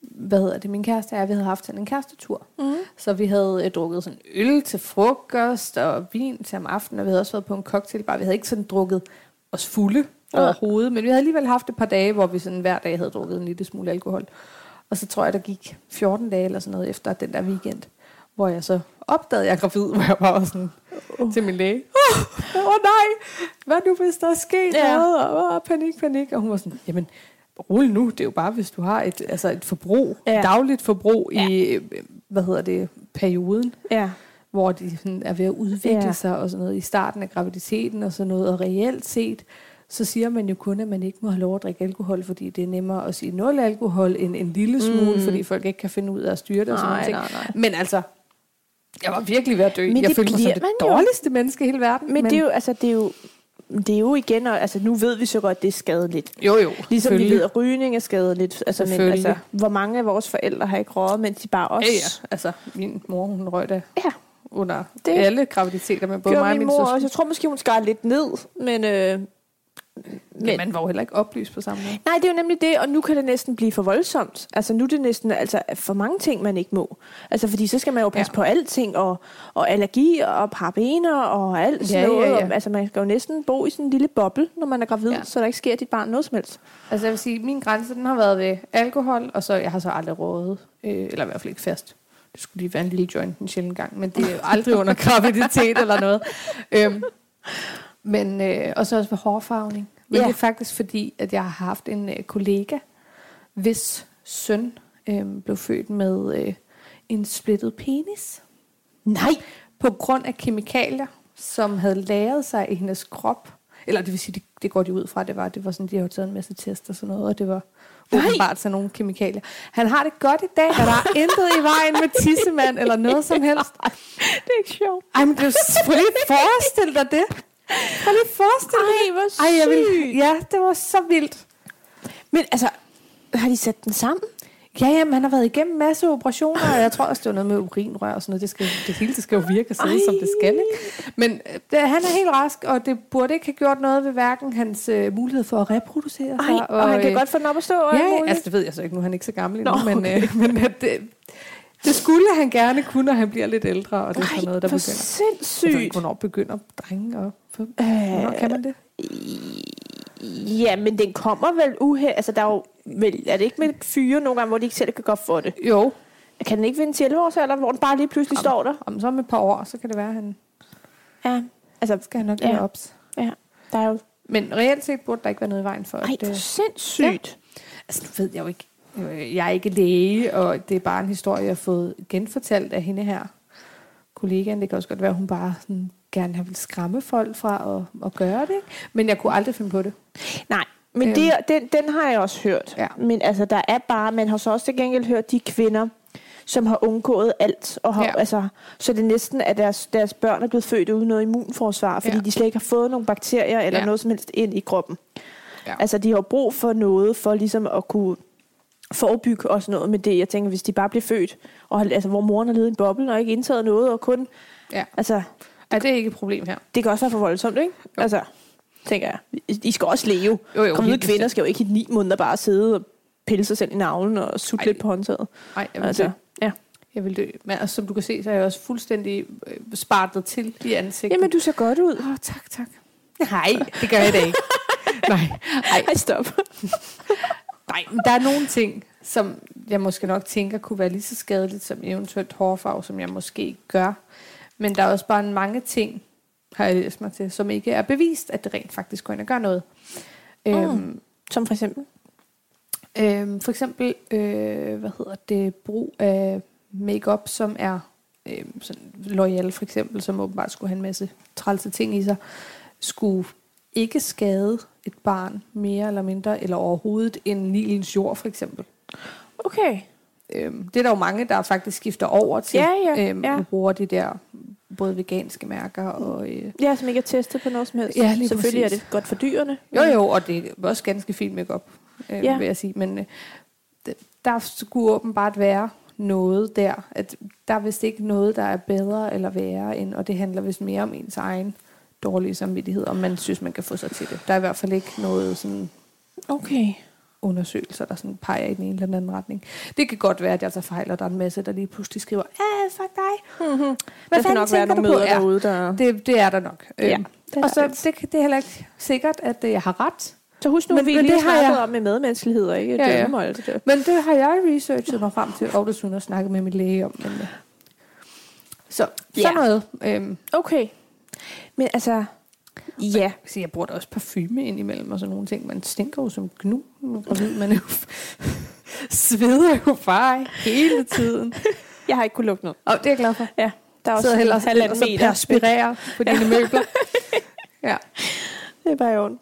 hvad hedder det, min kæreste og jeg, vi havde haft sådan en kærestetur. Mm. Så vi havde øh, drukket sådan øl til frokost og vin til om aftenen, og vi havde også været på en cocktailbar. Vi havde ikke sådan drukket os fulde Ja. overhovedet, men vi havde alligevel haft et par dage, hvor vi sådan hver dag havde drukket en lille smule alkohol. Og så tror jeg, der gik 14 dage eller sådan noget efter den der weekend, hvor jeg så opdagede, at jeg er gravid, hvor jeg bare var sådan uh. til min læge. Åh oh, oh, nej, hvad nu hvis der er sket Ja. ja. noget? Og, oh, panik, panik. Og hun var sådan, jamen rolig nu, det er jo bare, hvis du har et, altså et forbrug, Ja. ja. dagligt forbrug Ja. ja. i, øh, hvad hedder det, perioden, Ja. hvor de sådan er ved at udvikle Ja. ja. sig og sådan noget i starten af graviditeten og sådan noget. Og reelt set, så siger man jo kun, at man ikke må have lov at drikke alkohol, fordi det er nemmere at sige nul alkohol end en lille smule, mm. fordi folk ikke kan finde ud af at styre det og sådan Nej, noget. nej, nej. Men altså, jeg var virkelig ved at dø. Men jeg det følte mig som bliver det man jo. dårligste menneske i hele verden. Men, men det er jo, altså, det er jo, det er jo igen, og, altså nu ved vi så godt, det er skadeligt. jo, jo Ligesom vi selvfølgelig. ved, at rygning er skadeligt. Altså, men, Selvfølgelig. altså, hvor mange af vores forældre har ikke røget, mens de bare Ja, også... ja. Altså, min mor, hun røg da ja. under Det det alle graviditeter med både Gjorde mig og min min mor søster. også. Jeg tror måske, hun skar lidt ned, men... Øh, Men man var jo heller ikke oplyst på samme måde. Nej, det er jo nemlig det, og nu kan det næsten blive for voldsomt. Altså nu er det næsten altså, for mange ting, man ikke må. Altså fordi så skal man jo passe ja. Ja. på alting, og, og allergi og parabener og alt sådan Ja, noget. ja, ja. Og, altså man skal jo næsten bo i sådan en lille boble, når man er gravid, ja. Ja. så der ikke sker dit barn noget som helst. Altså jeg vil sige, min grænse den har været ved alkohol, og så jeg har så aldrig rådet, øh, eller i hvert fald ikke fast. Det skulle lige være en lille joint en sjældent gang, men det er jo aldrig under graviditet eller noget. Øhm, men, øh, og så også ved hårfarvning. Men Ja. ja. det er faktisk fordi, at jeg har haft en øh, kollega, hvis søn øh, blev født med øh, en splittet penis Nej! på grund af kemikalier, som havde lagret sig i hendes krop. Eller det vil sige, det, det går de ud fra, det var, det var sådan, de har jo taget en masse test og sådan noget, og det var Nej. åbenbart sådan nogle kemikalier. Han har det godt i dag, og der er intet i vejen med tissemand eller noget som helst. Det er ikke sjovt. Ej, men kan du selvfølgelig forestille dig det? Kan du forestille dig Ej, hvor det? Ej, jeg vil, ja, det var så vildt. Men altså, har de sat den sammen? Ja, jamen, han har været igennem en masse operationer, og jeg tror også, det var noget med urinrør og sådan noget. Det, skal, det hele det skal jo virke og sidde, Ej. som det skal, ikke? Men øh, det, han er helt rask, og det burde ikke have gjort noget ved hverken hans øh, mulighed for at reproducere sig. Ej, og, og han kan øh, godt få den op at stå. og alt Ja, muligt. altså det ved jeg så ikke nu, han er ikke så gammel Nå, endnu, Nå, men, øh, men at det, det skulle han gerne kunne, når han bliver lidt ældre, og det er sådan noget, der hvor begynder. Altså, Jeg ved ikke, sindssygt. hvornår begynder drenge og... Øh, Hvornår kan man det? Ja, men den kommer vel uhe... Altså, der er jo... Vel, er det ikke med fyre nogle gange, hvor de ikke selv kan godt for det? Jo, Kan den ikke vinde til 11 års alder, hvor den bare lige pludselig står der? om så om et par år, så kan det være, at han Ja. Altså, skal han nok Ja. ja. ops. ja. Der er jo... Men reelt set burde der ikke være noget i vejen for, Ej, at... det er øh, sindssygt. Altså, nu ved jeg jo ikke. øh, Jeg er ikke læge, og det er bare en historie, jeg har fået genfortalt af hende her. Kollegaen, det kan også godt være, at hun bare sådan, gerne har ville skræmme folk fra at, at gøre det. ikke? Men jeg kunne aldrig finde på det. Ja. Nej, men Øhm. det, er- den, den har jeg også hørt. Ja. Men altså, der er bare... Man har så også til gengæld hørt de kvinder, som har undgået alt. Og har, ja. Ja. altså, så det er næsten, at deres, deres børn er blevet født uden noget immunforsvar, fordi ja. Ja. de slet ikke har fået nogle bakterier eller ja. Ja. noget som helst ind i kroppen. Ja. Altså, de har jo brug for noget for ligesom at kunne forebygge og sådan noget med det. Jeg tænker, hvis de bare bliver født, og, har- altså, hvor moren har levet i en boble og ikke indtaget noget, og kun... Ja. Altså, Er det ikke et problem her? det kan også være for voldsomt, ikke? Jo. Altså, tænker jeg. I- I skal også leve. Jo, jo, Kom ud, helt kvinder bestemt. skal jo ikke i ni måneder bare sidde og pille sig selv i navlen og sutte Ej. lidt på håndtaget. Nej, jeg vil altså. Altså, dø. ja. Jeg vil dø. Men altså, som du kan se, så er jeg også fuldstændig øh, spartet til i ansigtet. Jamen, du ser godt ud. Åh, oh, tak, tak. Nej. Det gør jeg da ikke. Nej. Ej, Ej, stop. Nej, men der er nogle ting, som jeg måske nok tænker kunne være lige så skadeligt som eventuelt hårfarve, som jeg måske ikke gør. Men der er også bare mange ting, har jeg læst mig til, som ikke er bevist, at det rent faktisk går ind og gør noget. Mm. Øhm, Som for eksempel. øhm, for eksempel, øh, hvad hedder det, brug af makeup, som er øh, sådan L'Oreal for eksempel, som åbenbart skulle have en masse trælse ting i sig, skulle ikke skade et barn mere eller mindre, eller overhovedet end Nilens jord for eksempel. Okay. Øhm, det er der jo mange, der faktisk skifter over til. Ja, ja, øhm, ja. Og bruger de der både veganske mærker og... Øh, Ja, som ikke er testet på noget som helst. Ja, lige Selvfølgelig præcis. er det godt for dyrene. jo, jo, og det er også ganske fint makeup, øh, Ja. ja. vil jeg sige. Men øh, d- der skulle åbenbart være noget der. At der er vist ikke noget, der er bedre eller værre end, og det handler vist mere om ens egen dårlige samvittighed, om man synes, man kan få sig til det. Der er i hvert fald ikke noget sådan Okay. undersøgelser, der sådan peger i den ene eller den anden retning. Det kan godt være, at jeg tager fejl, og der er en masse, der lige pludselig skriver, ah, fuck dig, Mm-hmm. Hvad der skal fanden nok være tænker nogle du på? møder Ja. derude, der... Det, det er der nok. Ja, Øhm, det er og der så det, kan- det er heller ikke sikkert, at øh, jeg har ret. Så husk nu, men, Men- vi men lige det har har snakket jeg- om med medmenneskelighed og ikke Ja, ja. ja, dømme og alt det der. Men det har jeg researchet mig frem til, og desuden har snakket med min læge om. Men, øh, Sådan noget. Øhm, Okay. Men altså, ja. så jeg bruger da også parfume indimellem og sådan nogle ting. Man stinker jo som gnu, når man er gravid. Man er jo sveder jo bare hele tiden. Jeg har ikke kunnet lukke noget. Og det er jeg glad for. Ja, der er Jeg sidder også heller og halvanden så meter. perspirerer på dine møbler. Ja. Det er bare i orden.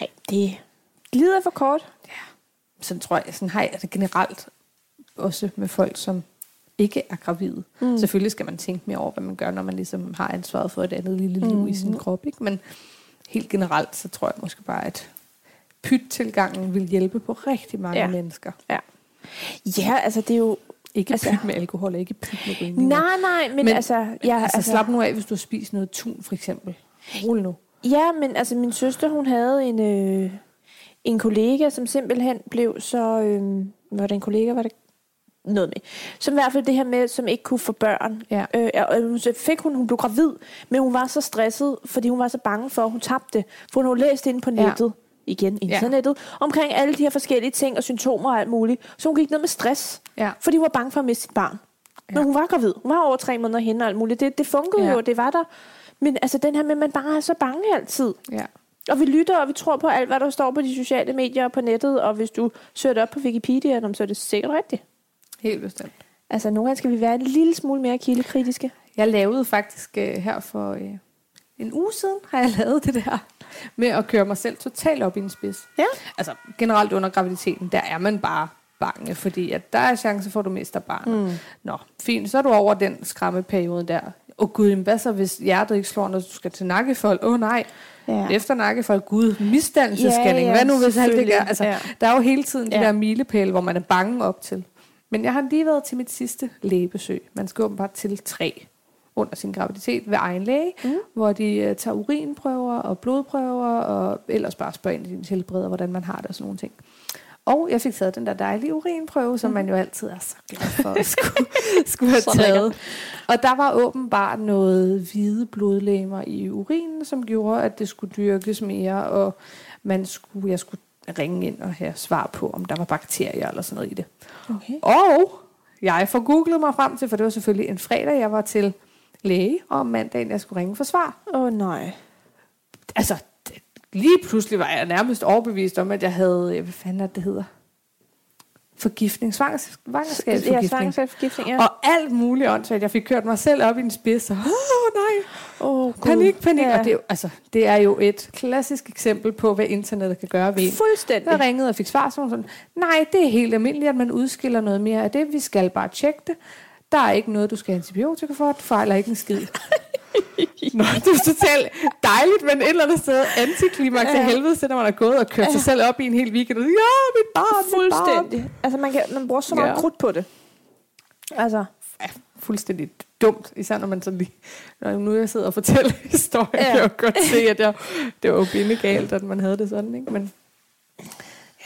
Nej, det glider for kort. Sådan tror jeg, sådan har jeg det generelt også med folk, som ikke er gravide. Mm. Selvfølgelig skal man tænke mere over, hvad man gør, når man ligesom har ansvaret for et andet lille liv mm. i sin krop. Ikke? Men helt generelt, så tror jeg måske bare, at pyt-tilgangen vil hjælpe på rigtig mange Ja. ja. mennesker. Ja, altså det er jo... Ikke Altså- altså, pyt med alkohol, og ikke pyt med rygning. Nej, nej, men, men Men- altså... Jeg, altså, altså, slap nu af, hvis du har spist noget tun, for eksempel. Rul nu. Ja, men altså min søster, hun havde en, øh, en kollega, som simpelthen blev så... Øh, var det en kollega, var det noget med. Som i hvert fald det her med, som ikke kunne få børn. Ja. Øh, og hun så fik hun, hun blev gravid, men hun var så stresset, fordi hun var så bange for, at hun tabte. For hun havde læst inde på Ja. nettet, ja. igen internettet, ja. omkring alle de her forskellige ting og symptomer og alt muligt. Så hun gik ned med stress, Ja. fordi hun var bange for at miste sit barn. Ja. Men Ja. hun var gravid. Hun var over tre måneder henne og alt muligt. Det, det fungerede ja. Ja. jo, det var der. Men altså den her med, at man bare er så bange altid. Ja. Og vi lytter, og vi tror på alt, hvad der står på de sociale medier og på nettet. Og hvis du søger det op på Wikipedia, jamen, så er det sikkert rigtigt. Helt bestemt. Altså, nogle gange skal vi være en lille smule mere kildekritiske. Jeg lavede faktisk øh, her for øh, en uge siden, har jeg lavet det der med at køre mig selv totalt op i en spids. Ja. Altså generelt under graviditeten, der er man bare bange, fordi at der er chance for, at du mister barnet. Mm. Nå, fint, så er du over den skræmmeperiode der. Åh oh, gud, jamen, hvad så, hvis hjertet ikke slår, når du skal til nakkefold? Åh oh, nej, Ja. ja. efter nakkefold, gud, misdannelsesscanning. Ja, Ja, ja, ja, hvad nu hvis alt det gør? selvfølgelig, Altså, ja. ja. Der er jo hele tiden de Ja. der milepæle, hvor man er bange op til. Men jeg har lige været til mit sidste lægebesøg. Man skal åbenbart til tre under sin graviditet ved egen læge, mm. hvor de uh, tager urinprøver og blodprøver, og ellers bare spørger ind i din helbreder, hvordan man har det og sådan nogle ting. Og jeg fik taget den der dejlige urinprøve, som man jo altid er så glad for at skulle, skulle have Så taget. Og der var åbenbart noget hvide blodlegemer i urinen, som gjorde, at det skulle dyrkes mere, og man skulle, jeg skulle ringe ind og have svar på, om der var bakterier eller sådan noget i det. Okay. Og jeg får googlet mig frem til, for det var selvfølgelig en fredag, jeg var til læge, og om mandagen, jeg skulle ringe for svar. Åh, oh, nej. Altså, det- lige pludselig var jeg nærmest overbevist om, at jeg havde, øh, hvad fanden er det, det hedder? Forgiftning, svangers- Ja, svangerskabsforgiftning. svangerskabsforgiftning, ja. Og alt muligt åndssvagt. Jeg fik kørt mig selv op i en spids, og åh nej, Oh, panik, panik. Ja. Og det er, jo, altså, det er jo et klassisk eksempel på, hvad internettet kan gøre ved en. Jeg Fuldstændig. ringede og fik svar, sådan, sådan, nej, det er helt almindeligt, at man udskiller noget mere af det. Vi skal bare tjekke det. Der er ikke noget, du skal have antibiotika for. Du fejler ikke en skid. Nå, det er totalt dejligt, men et eller andet sted antiklimaks Ja. af helvede, til, når man er gået og kørt sig selv op i en hel weekend. Og, ja, mit barn, mit barn. Fuldstændig. Altså, man, kan, man bruger så meget Ja. krudt på det. Altså, Ja, fuldstændig dumt, især når man sådan lige, når nu jeg sidder og fortæller historien, Ja. ja. kan jeg jo godt se, at jeg, det var jo bindegalt, at man havde det sådan, ikke? Men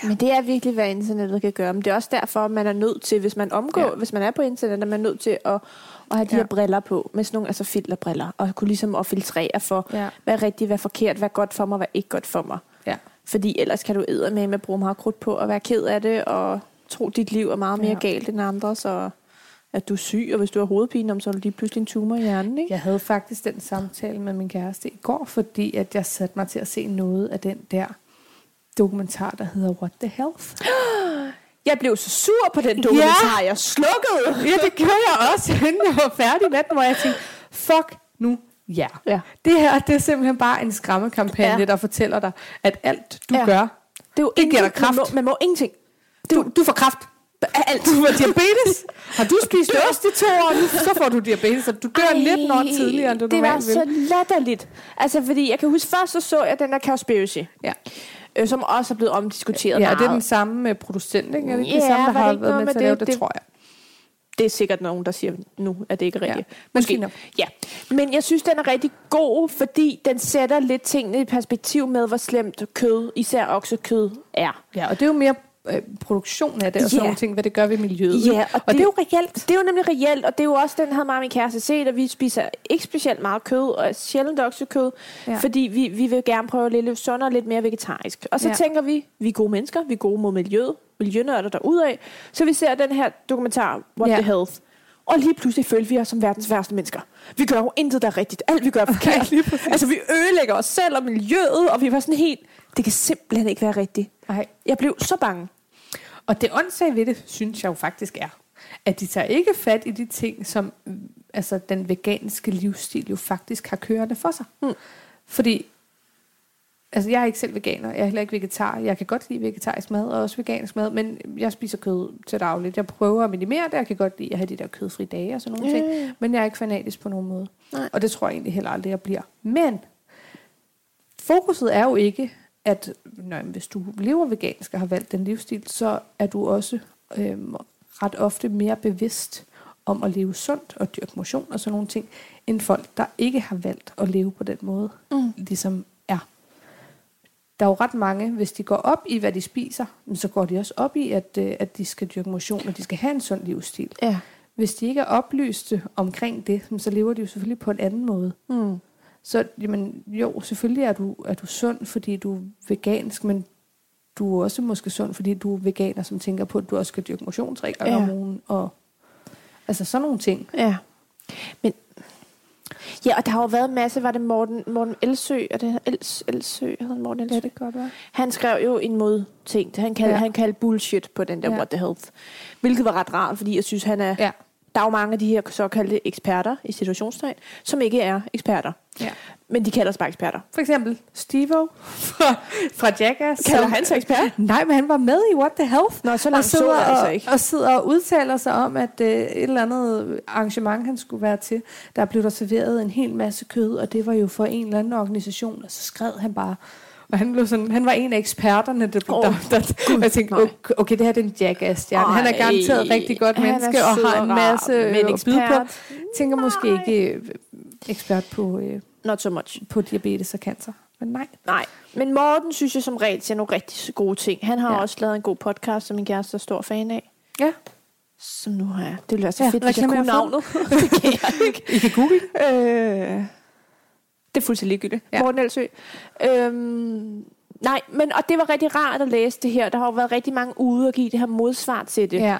Men det er virkelig, hvad internettet kan gøre. Men det er også derfor, man er nødt til, hvis man omgår, ja. Ja. hvis man er på internettet, man er nødt til at, at have de Ja. ja. her briller på, med sådan nogle altså filterbriller, og kunne ligesom at filtrere for, ja. Ja. hvad er rigtigt, hvad er forkert, hvad er godt for mig, hvad er ikke godt for mig. ja, Fordi ellers kan du æde med at bruge meget krudt på at være ked af det, og tro, dit liv er meget mere ja. Ja. galt end andre, så at du er syg, og hvis du har hovedpine, om så er du lige pludselig en tumor i hjernen, ikke? Jeg havde faktisk den samtale med min kæreste i går, fordi at jeg satte mig til at se noget af den der dokumentar, der hedder What the Health. Jeg blev så sur på den dokumentar, jeg slukkede. Ja, det gjorde jeg også, inden jeg var færdig med den, hvor jeg tænkte, fuck nu ja. Ja. Det her, det er simpelthen bare en skræmmekampagne, Ja. ja. der fortæller dig, at alt du Ja. ja. gør, Det, er jo Det giver ingenting. dig kraft. Man må, man må ingenting. du, du får kraft. Alt. Du får diabetes. Har du spist ost i to år, nu, så får du diabetes, og du dør 19 år tidligere, end du Det var normalt så vil. latterligt. Altså, fordi jeg kan huske, først så så jeg den der Cowspiracy, Ja, øh, som også er blevet omdiskuteret ja og meget. det er den samme med producent, ikke? Er det ikke Ja, det samme, der var det har ikke været noget med med til at lave det- det, det- det, tror jeg. det er sikkert nogen, der siger nu, at det ikke er Ja. rigtigt. Men Måske. fint nok. Ja. Men jeg synes, den er rigtig god, fordi den sætter lidt tingene i perspektiv med, hvor slemt kød, især oksekød, er. Ja, og det er jo mere øh, produktion af det, og sådan Ja. nogle ting, hvad det gør ved miljøet. Ja, og og, og det, det- det er jo reelt. Det er jo nemlig reelt, og det er jo også den, havde mig og min kæreste set, at vi spiser ikke specielt meget kød, og sjældent oksekød, ja. Ja. fordi vi, vi vil gerne prøve lidt lidt sundere og lidt mere vegetarisk. Og så ja. Ja. tænker vi, vi er gode mennesker, vi er gode mod miljøet, miljønørder derudad, så vi ser den her dokumentar, What ja. Ja. the Health. og lige pludselig følte vi os som verdens værste mennesker. Vi gør jo intet, der er rigtigt. Alt vi gør er forkert. lige præcis. altså, vi ødelægger os selv og miljøet, og vi var sådan helt, det kan simpelthen ikke være rigtigt. Nej. Jeg blev så bange. Og det åndssage ved det, synes jeg jo faktisk er, at de tager ikke fat i de ting, som mm, altså, den veganske livsstil jo faktisk har kørende for sig. Mm. Fordi, altså jeg er ikke selv veganer, jeg er heller ikke vegetar, jeg kan godt lide vegetarisk mad og også vegansk mad, men jeg spiser kød til dagligt. Jeg prøver at minimere det, jeg kan godt lide at have de der kødfri dage og sådan nogle ting. Men jeg er ikke fanatisk på nogen måde. Nej. Og det tror jeg egentlig heller aldrig, jeg bliver. Men fokuset er jo ikke, at nå, jamen, hvis du lever vegansk og har valgt den livsstil, så er du også øhm, ret ofte mere bevidst om at leve sundt og dyrke motion og sådan nogle ting, end folk, der ikke har valgt at leve på den måde, Mm. ligesom er. Der er jo ret mange, hvis de går op i, hvad de spiser, men så går de også op i, at, øh, at de skal dyrke motion, og de skal have en sund livsstil. Ja. Hvis de ikke er oplyste omkring det, jamen, så lever de jo selvfølgelig på en anden måde. Mm. Så jamen, jo, selvfølgelig er du, er du sund, fordi du er vegansk, men du er også måske sund, fordi du er veganer, som tænker på, at du også skal dyrke motion tre gange Ja. om ugen. Og, altså sådan nogle ting. Ja. Men, ja, og der har jo været en masse, var det Morten, Morten Elsø, er det Els, Elsø, hedder han Morten Elsø? det godt være. Han skrev jo en modting, han kaldte, Ja. ja. han kaldte bullshit på den der Ja. ja. What the Health, hvilket var ret rart, fordi jeg synes, han er, ja. Ja. der er jo mange af de her såkaldte eksperter, i situationstegn, som ikke er eksperter, ja. men de kalder sig bare eksperter. For eksempel Steve fra, fra Jackass. Kalder som- han sig ekspert? Nej, men han var med i What the Health. Nå, så og langt så, så sidder, jeg altså og, ikke. og sidder og udtaler sig om, at øh, et eller andet arrangement, han skulle være til, der blev der serveret en hel masse kød, og det var jo for en eller anden organisation, og så skred han bare. Og han, blev sådan, han var en af eksperterne, der blev oh, Åh, der, der, Og jeg tænkte, nej. okay, okay, det her det er en jackass -stjerne. Han er Ej, garanteret rigtig godt han er menneske, sød og har en og rar, masse øh, men at byde på. ekspert? Tænker måske Nej. ikke øh, ekspert på, øh, Not so much. på diabetes og cancer. Men nej. Nej, men Morten synes jeg som regel siger nogle rigtig gode ting. Han har Ja. ja. også lavet en god podcast, som min kæreste er stor fan af. Ja, Som nu har jeg. Det ville være så Ja, ja, fedt, hvis jeg kunne reklamer jeg navnet. det kan jeg ikke. I kan google det. Øh, det er fuldstændig ligegyldigt. Ja. Ja. Morten Elsø. Øhm, nej, men og det var rigtig rart at læse det her. Der har jo været rigtig mange ude og give det her modsvar til det. Ja.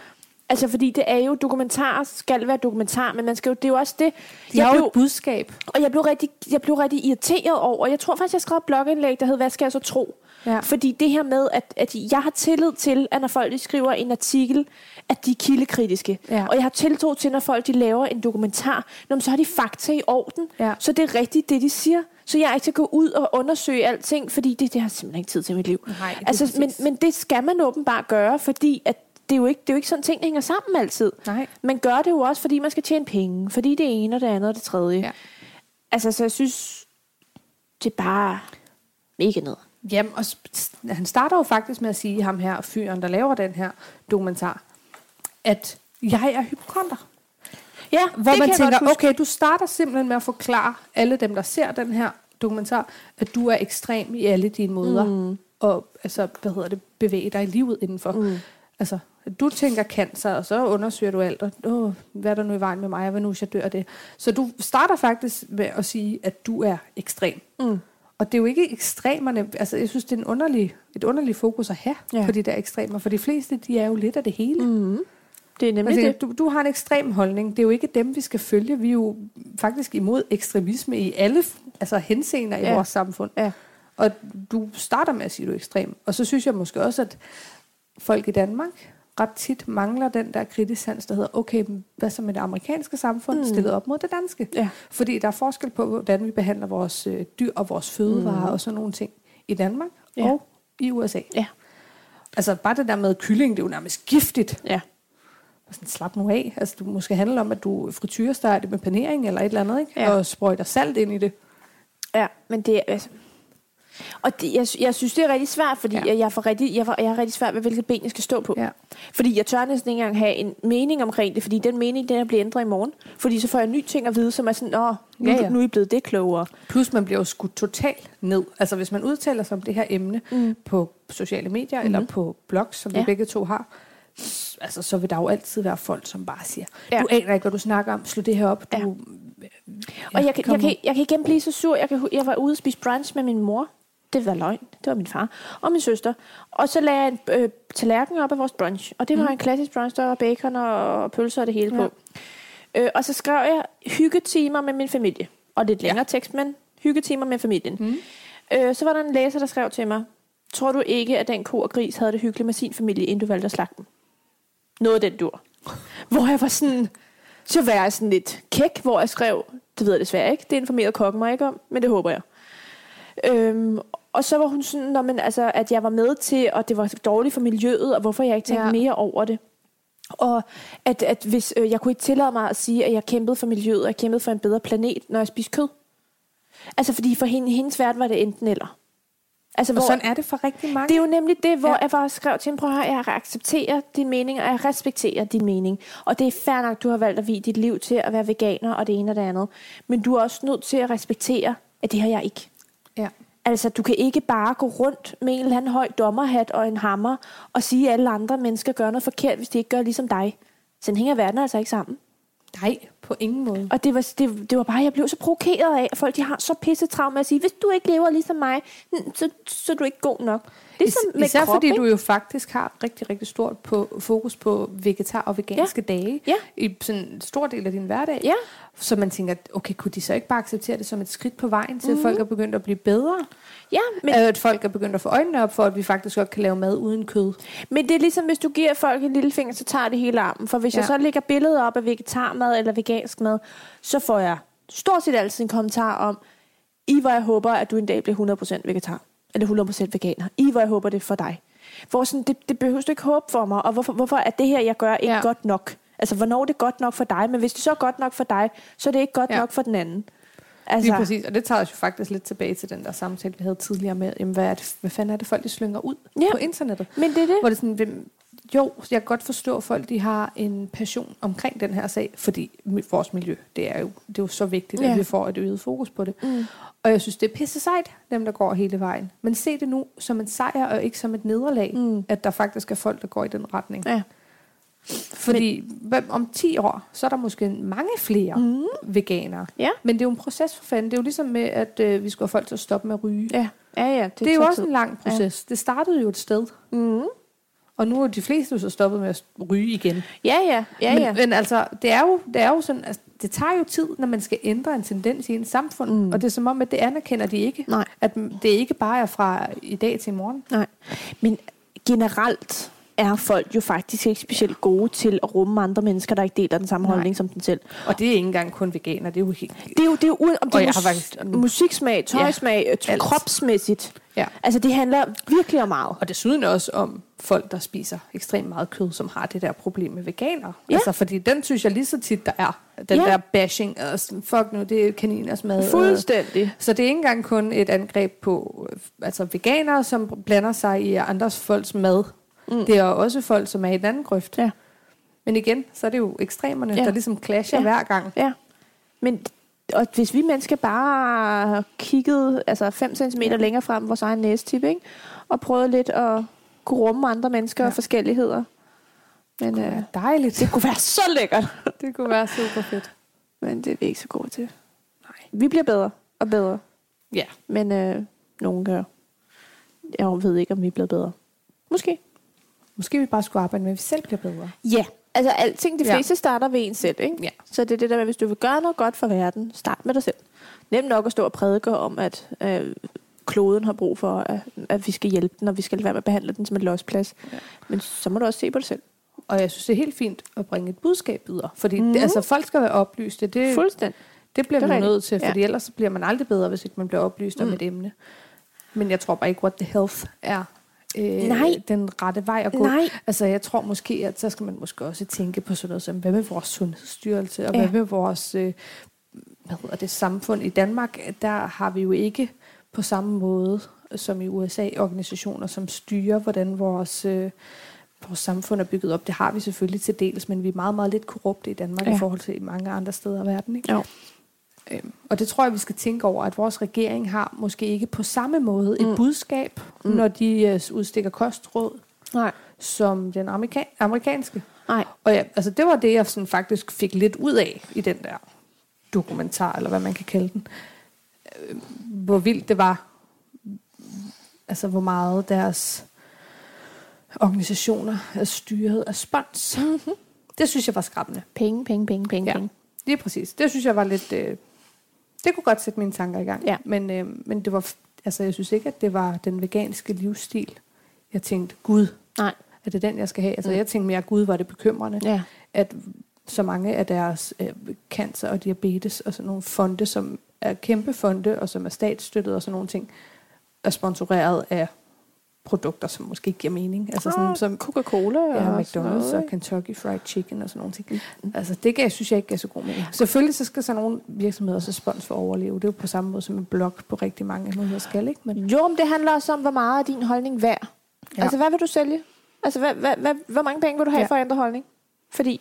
Altså, fordi det er jo, dokumentarer skal være dokumentar, men man skal jo, det er jo også det. De har jo et budskab. Og jeg blev, rigtig, jeg blev rigtig irriteret over, jeg tror faktisk, jeg skrev et blogindlæg, der hed, hvad skal jeg så tro? Ja. Fordi det her med, at, at jeg har tillid til, at når folk de skriver en artikel, at de er kildekritiske. Ja. Og jeg har tiltro til, når folk de laver en dokumentar, når så har de fakta i orden. Ja. Så det er rigtigt, det de siger. Så jeg er ikke til at gå ud og undersøge alting, fordi det, det har jeg simpelthen ikke tid til i mit liv. Nej, det er altså, men, præcis. men det skal man åbenbart gøre, fordi at det er jo ikke, det er jo ikke sådan, ting hænger sammen altid. Nej. Man gør det jo også, fordi man skal tjene penge, fordi det ene og det andet og det tredje. Ja. Altså, så jeg synes, det er bare mega ned. Jamen, og s- han starter jo faktisk med at sige, ham her, fyren, der laver den her dokumentar, at jeg er hypokonter. Ja, Hvor det man kan jeg godt tænker, huske. okay, du starter simpelthen med at forklare alle dem, der ser den her dokumentar, at du er ekstrem i alle dine måder, mm. og altså, hvad hedder det, bevæge dig i livet indenfor. Mm. Altså, at du tænker cancer, og så undersøger du alt, og Åh, hvad er der nu i vejen med mig, og hvad nu hvis jeg dør af det. Så du starter faktisk med at sige, at du er ekstrem. Mm. Og det er jo ikke ekstremerne, altså jeg synes, det er en underlig, et underligt fokus at have ja. Ja. på de der ekstremer, for de fleste, de er jo lidt af det hele. Mm. Det er nemlig Altså, det. du, du har en ekstrem holdning. Det er jo ikke dem, vi skal følge. Vi er jo faktisk imod ekstremisme i alle altså, henseender i ja. Ja. vores samfund. Ja. Og du starter med at sige, at du er ekstrem. Og så synes jeg måske også, at folk i Danmark ret tit mangler den der kritisk sans, der hedder, okay, men hvad så med det amerikanske samfund mm. stillet op mod det danske? Ja. Fordi der er forskel på, hvordan vi behandler vores øh, dyr og vores fødevarer mm. og sådan nogle ting i Danmark Ja. og i USA. Ja. Altså bare det der med kylling, det er jo nærmest giftigt. ja. Og sådan, slap nu af. Altså, du måske handler om, at du frityresteger det med panering eller et eller andet, ikke? Ja. Ja. Og sprøjter salt ind i det. Ja, men det er... Altså, og det, jeg, sy- jeg synes, det er rigtig svært, fordi Ja. ja. jeg, jeg, får rigtig, jeg, får, jeg har rigtig svært ved, hvilket ben jeg skal stå på. Ja. Fordi jeg tør næsten ikke engang have en mening omkring det, fordi den mening, den er blevet ændret i morgen. Fordi så får jeg nye ting at vide, som er sådan, åh, nu, Ja, ja, ja. ja. nu er I blevet det klogere. Plus, man bliver jo skudt totalt ned. Altså, hvis man udtaler sig om det her emne mm. på sociale medier mm-hmm. eller på blogs, som ja. vi Mhm. Ja. begge to har, s- altså, så vil der jo altid være folk, som bare siger, ja. Ja. du aner ikke, hvad du snakker om, slå det her op. Du, ja. Og jeg, kan, kom jeg, nu. kan, jeg kan igen blive så sur. Jeg, kan, hu- jeg var ude og spise brunch med min mor. Det var løgn. Det var min far og min søster. Og så lagde jeg en øh, tallerken op af vores brunch. Og det var mm. en klassisk brunch, der var bacon og, og pølser og det hele ja. på. Øh, og så skrev jeg hyggetimer med min familie. Og lidt længere ja. tekst, men hyggetimer med familien. Mm. Øh, så var der en læser, der skrev til mig, tror du ikke, at den ko og gris havde det hyggeligt med sin familie, inden du valgte at slagte dem? Noget af den dur. Hvor jeg var sådan, så var jeg sådan lidt kæk, hvor jeg skrev, det ved jeg desværre ikke, det informerede kokken mig ikke om, men det håber jeg. Øhm, og så var hun sådan, Nå, men, altså, at jeg var med til, og det var dårligt for miljøet, og hvorfor jeg ikke tænkte Ja. ja. mere over det. Og at, at hvis øh, jeg kunne ikke tillade mig at sige, at jeg kæmpede for miljøet, og jeg kæmpede for en bedre planet, når jeg spiste kød. Altså fordi for hende, hendes verden var det enten eller. Altså, Og sådan er det for rigtig mange. det er jo nemlig det, hvor Ja. ja. jeg bare skrev til hende, prøv at høre, jeg accepterer din mening, og jeg respekterer din mening. Og det er fair nok, du har valgt at vie dit liv til at være veganer og det ene og det andet. Men du er også nødt til at respektere, at det har jeg ikke. ja. Altså, du kan ikke bare gå rundt med en eller anden høj dommerhat og en hammer og sige, at alle andre mennesker gør noget forkert, hvis de ikke gør ligesom dig. Sådan hænger verden altså ikke sammen. Nej, på ingen måde. Og det var, det, det var bare, jeg blev så provokeret af, at folk de har så pisse travlt med at sige, hvis du ikke lever ligesom mig, hmm, så, så er du ikke god nok. Ligesom Is- med Især krop, fordi ikke? du jo faktisk har rigtig, rigtig stort på, fokus på vegetar og veganske ja. dage Ja. i sådan en stor del af din hverdag. Ja. Så man tænker, okay, kunne de så ikke bare acceptere det som et skridt på vejen til, mm-hmm. at folk er begyndt at blive bedre? Ja, Mhm. men, Men, at folk er begyndt at få øjnene op for, at vi faktisk godt kan lave mad uden kød. men det er ligesom, hvis du giver folk en lille finger, så tager det hele armen. For hvis ja. Ja. jeg så lægger billeder op af vegetarmad eller vegansk mad, så får jeg stort set altid en kommentar om, i hvor jeg håber, at du en dag bliver 100% vegetar. Eller 100% veganer. I hvor jeg håber, det er for dig. Hvor sådan, det, det behøver du ikke håbe for mig. Og hvorfor, hvorfor er det her, jeg gør, ikke Ja. ja. godt nok? Altså, hvornår er det godt nok for dig? Men hvis det så er godt nok for dig, så er det ikke godt Ja. ja. nok for den anden. Lige Altså, præcis, og det tager os jo faktisk lidt tilbage til den der samtale, vi havde tidligere med, jamen, hvad, er det, hvad fanden er det, folk de slynger ud Ja. på internettet? men det er det. Hvor det er sådan, hvem, jo, jeg kan godt forstå, at folk de har en passion omkring den her sag, fordi mi- vores miljø, det er jo, det er jo så vigtigt, ja. Ja. at vi får et øget fokus på det. Mm. Og jeg synes, det er pisse sejt, dem der går hele vejen. Men se det nu som en sejr, og ikke som et nederlag, Mm. at der faktisk er folk, der går i den retning. Ja. Fordi hvem- om 10 år, så er der måske mange flere Mm. veganere. Ja. Men det er jo en proces for fanden. Det er jo ligesom med, at øh, vi skulle have folk til at stoppe med at ryge. Ja. Ja, ja. det, det er jo tager også tid. en lang proces. Ja. Det startede jo et sted. Mm. Og nu er de fleste jo så stoppet med at ryge igen. Ja, ja. Ja, ja. Men, men altså, det er jo, det er jo sådan, altså, det tager jo tid, når man skal ændre en tendens i en samfund. Mm. Mm. Og det er som om, at det anerkender de ikke. Nej. At det ikke bare er fra i dag til i morgen. Nej. Men generelt er folk jo faktisk ikke specielt gode til at rumme andre mennesker, der ikke deler den samme Nej. Nej. holdning som den selv. Og det er ikke engang kun veganer. Det er jo helt... Det er jo, det er jo ude, om det Og er jeg har mus- faktisk- mm. musiksmag, tøjsmag, ja, alt. kropsmæssigt. Ja. Altså det handler virkelig om meget. Og desuden også om folk, der spiser ekstremt meget kød, som har det der problem med veganer. Ja. Altså, fordi den synes jeg lige så tit, der er. Den Ja. der bashing, og sådan, fuck nu, det er kaniners mad. og- Fuldstændig. Så det er ikke engang kun et angreb på øh, altså veganere, som blander sig i andres folks mad. Mm. Det er også folk, som er i den anden grøft. Ja. Men igen, så er det jo ekstremerne, ja. Ja. der ligesom clasher ja. Ja. hver gang. Ja. Men og hvis vi mennesker bare kiggede altså 5 cm ja. længere frem vores egen næstip, ikke? og prøvede lidt at kunne rumme andre mennesker ja. og forskelligheder. Men Det øh, er dejligt. det kunne være så lækkert. det kunne være super fedt. Men det er vi ikke så gode til. Nej. Vi bliver bedre og bedre, Ja. men øh, nogen gør. Jeg ved ikke, om vi bliver bedre. Måske. Måske vi bare skulle arbejde med, at vi selv bliver bedre. Ja. Altså alting, de Ja. fleste ja. starter ved en selv, ikke? Ja. Så det er det der med, hvis du vil gøre noget godt for verden, start med dig selv. Nemt nok at stå og prædike om, at øh, kloden har brug for, at, at vi skal hjælpe den, og vi skal lade være med at behandle den som en losplads. Ja. Ja. Men så må du også se på dig selv. Og jeg synes, det er helt fint at bringe et budskab videre. Fordi mm. Mhm. det, altså, folk skal være oplyste. Det, Fuldstændig. det bliver det er vi rigtigt. nødt til, Ja. fordi ellers så bliver man aldrig bedre, hvis ikke man bliver oplyst mm. om Mm. et emne. Men jeg tror bare ikke, what the health er øh, Nej. den rette vej at gå. Nej. Altså, jeg tror måske, at så skal man måske også tænke på sådan noget som, hvad med vores sundhedsstyrelse, og Ja. hvad med vores øh, hvad hedder det, samfund i Danmark? Der har vi jo ikke på samme måde som i USA organisationer, som styrer, hvordan vores, øh, vores samfund er bygget op. Det har vi selvfølgelig til dels, men vi er meget, meget lidt korrupte i Danmark ja. Ja. i forhold til mange andre steder i verden. Ikke? Jo. Øhm, Og det tror jeg, vi skal tænke over, at vores regering har måske ikke på samme måde et Mm. budskab, mm. når de øh, udstikker kostråd, Nej. som den amerika- amerikanske. Nej. Og ja, altså det var det, jeg sådan faktisk fik lidt ud af i den der dokumentar, eller hvad man kan kalde den. Øh, Hvor vildt det var, altså hvor meget deres organisationer er styret af spons. Det synes jeg var skræmmende. Penge, penge, penge, penge, Ja. penge. Lige præcis. Det synes jeg var lidt... Øh, det kunne godt sætte mine tanker i gang. Ja. Men, øh, men det var, f- altså, jeg synes ikke, at det var den veganske livsstil. Jeg tænkte, Gud, Nej. er det den, jeg skal have? Altså, Mm. jeg tænkte mere, Gud, var det bekymrende, Ja. at så mange af deres øh, cancer og diabetes og sådan nogle fonde, som er kæmpe fonde, og som er statsstøttet og sådan nogle ting, er sponsoreret af produkter, som måske ikke giver mening. Altså sådan, som Coca-Cola Ja, og sådan McDonald's og ikke? Mm. Kentucky Fried Chicken og sådan nogle ting. Altså, det gav, synes jeg ikke gav så god mening. Selvfølgelig så skal sådan nogle virksomheder så spons for at overleve. Det er jo på samme måde som en blog på rigtig mange måder skal, ikke? Men Jo, men det handler også om, hvor meget er din holdning værd. Ja. Ja. Altså, hvad vil du sælge? Altså, hvad, hvad, hvad, hvor mange penge vil du have Ja. ja. for at ændre holdning? Fordi,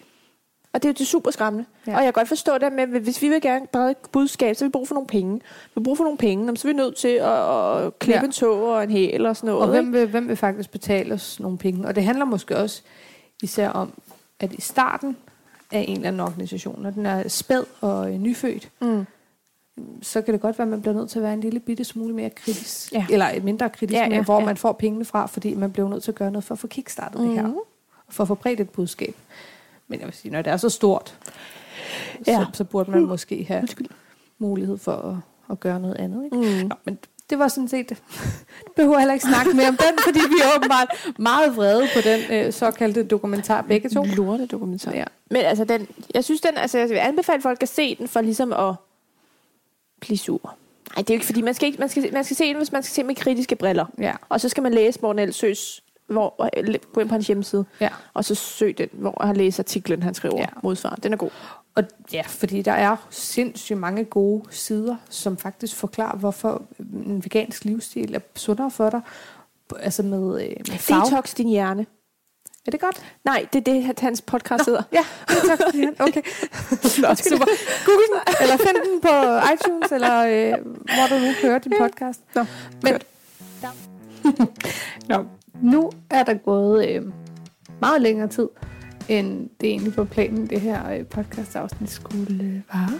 og det er jo det super skræmmende. Ja. Ja. Og jeg kan godt forstå det med, at hvis vi vil gerne brede et budskab, så har vi brug for nogle penge. Vi har brug for nogle penge, jamen, så er vi nødt til at, at klippe Ja. ja. en tog og en hæl og sådan noget. og ikke? hvem vil, hvem vil faktisk betale os nogle penge? Og det handler måske også især om, at i starten af en eller anden organisation, når den er spæd og øh, nyfødt, Mm. så kan det godt være, at man bliver nødt til at være en lille bitte smule mere kritisk. Ja. Eller mindre kritisk, Ja, ja, ja, ja, hvor ja. ja. man får pengene fra, fordi man bliver nødt til at gøre noget for at få kickstartet mm. det her. Mhm. For at få bredt et budskab. Men jeg vil sige, når det er så stort, ja. Ja. Mm. så, så burde man måske have mulighed for at, at gøre noget andet. Ikke? Mm. Nå, men det var sådan set... Du behøver heller ikke snakke mere om den, fordi vi er åbenbart meget vrede på den øh, såkaldte dokumentar begge to. Lorte dokumentar. Ja. Ja. Men altså, den, jeg synes, den, altså, jeg vil anbefale folk at se den for ligesom at blive sur. Nej, det er jo ikke, fordi man skal, ikke, man, skal, man skal se den, hvis man skal se med kritiske briller. Ja, Og så skal man læse Morten Elsøs, hvor, eller gå ind på hans hjemmeside, ja. og så søg den, hvor han læser artiklen, han skriver Ja. ja. modsvar. Den er god. Og ja, fordi der er sindssygt mange gode sider, som faktisk forklarer, hvorfor en vegansk livsstil er sundere for dig. Altså med, øh, med farve. Detox din hjerne. Er det godt? Nej, det er det, at hans podcast hedder. Ja, detox. siger han. Okay. Super. Google den, eller find den på iTunes, eller øh, hvor du nu hører din podcast. Nå, Men, kørt. Nå, nu er der gået øh, meget længere tid, end det egentlig var planen, det her øh, podcastafsnit skulle øh, vare.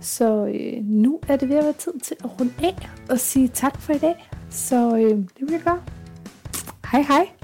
Så øh, nu er det ved at være tid til at runde af og sige tak for i dag. Så øh, det vil jeg gøre. Hej hej.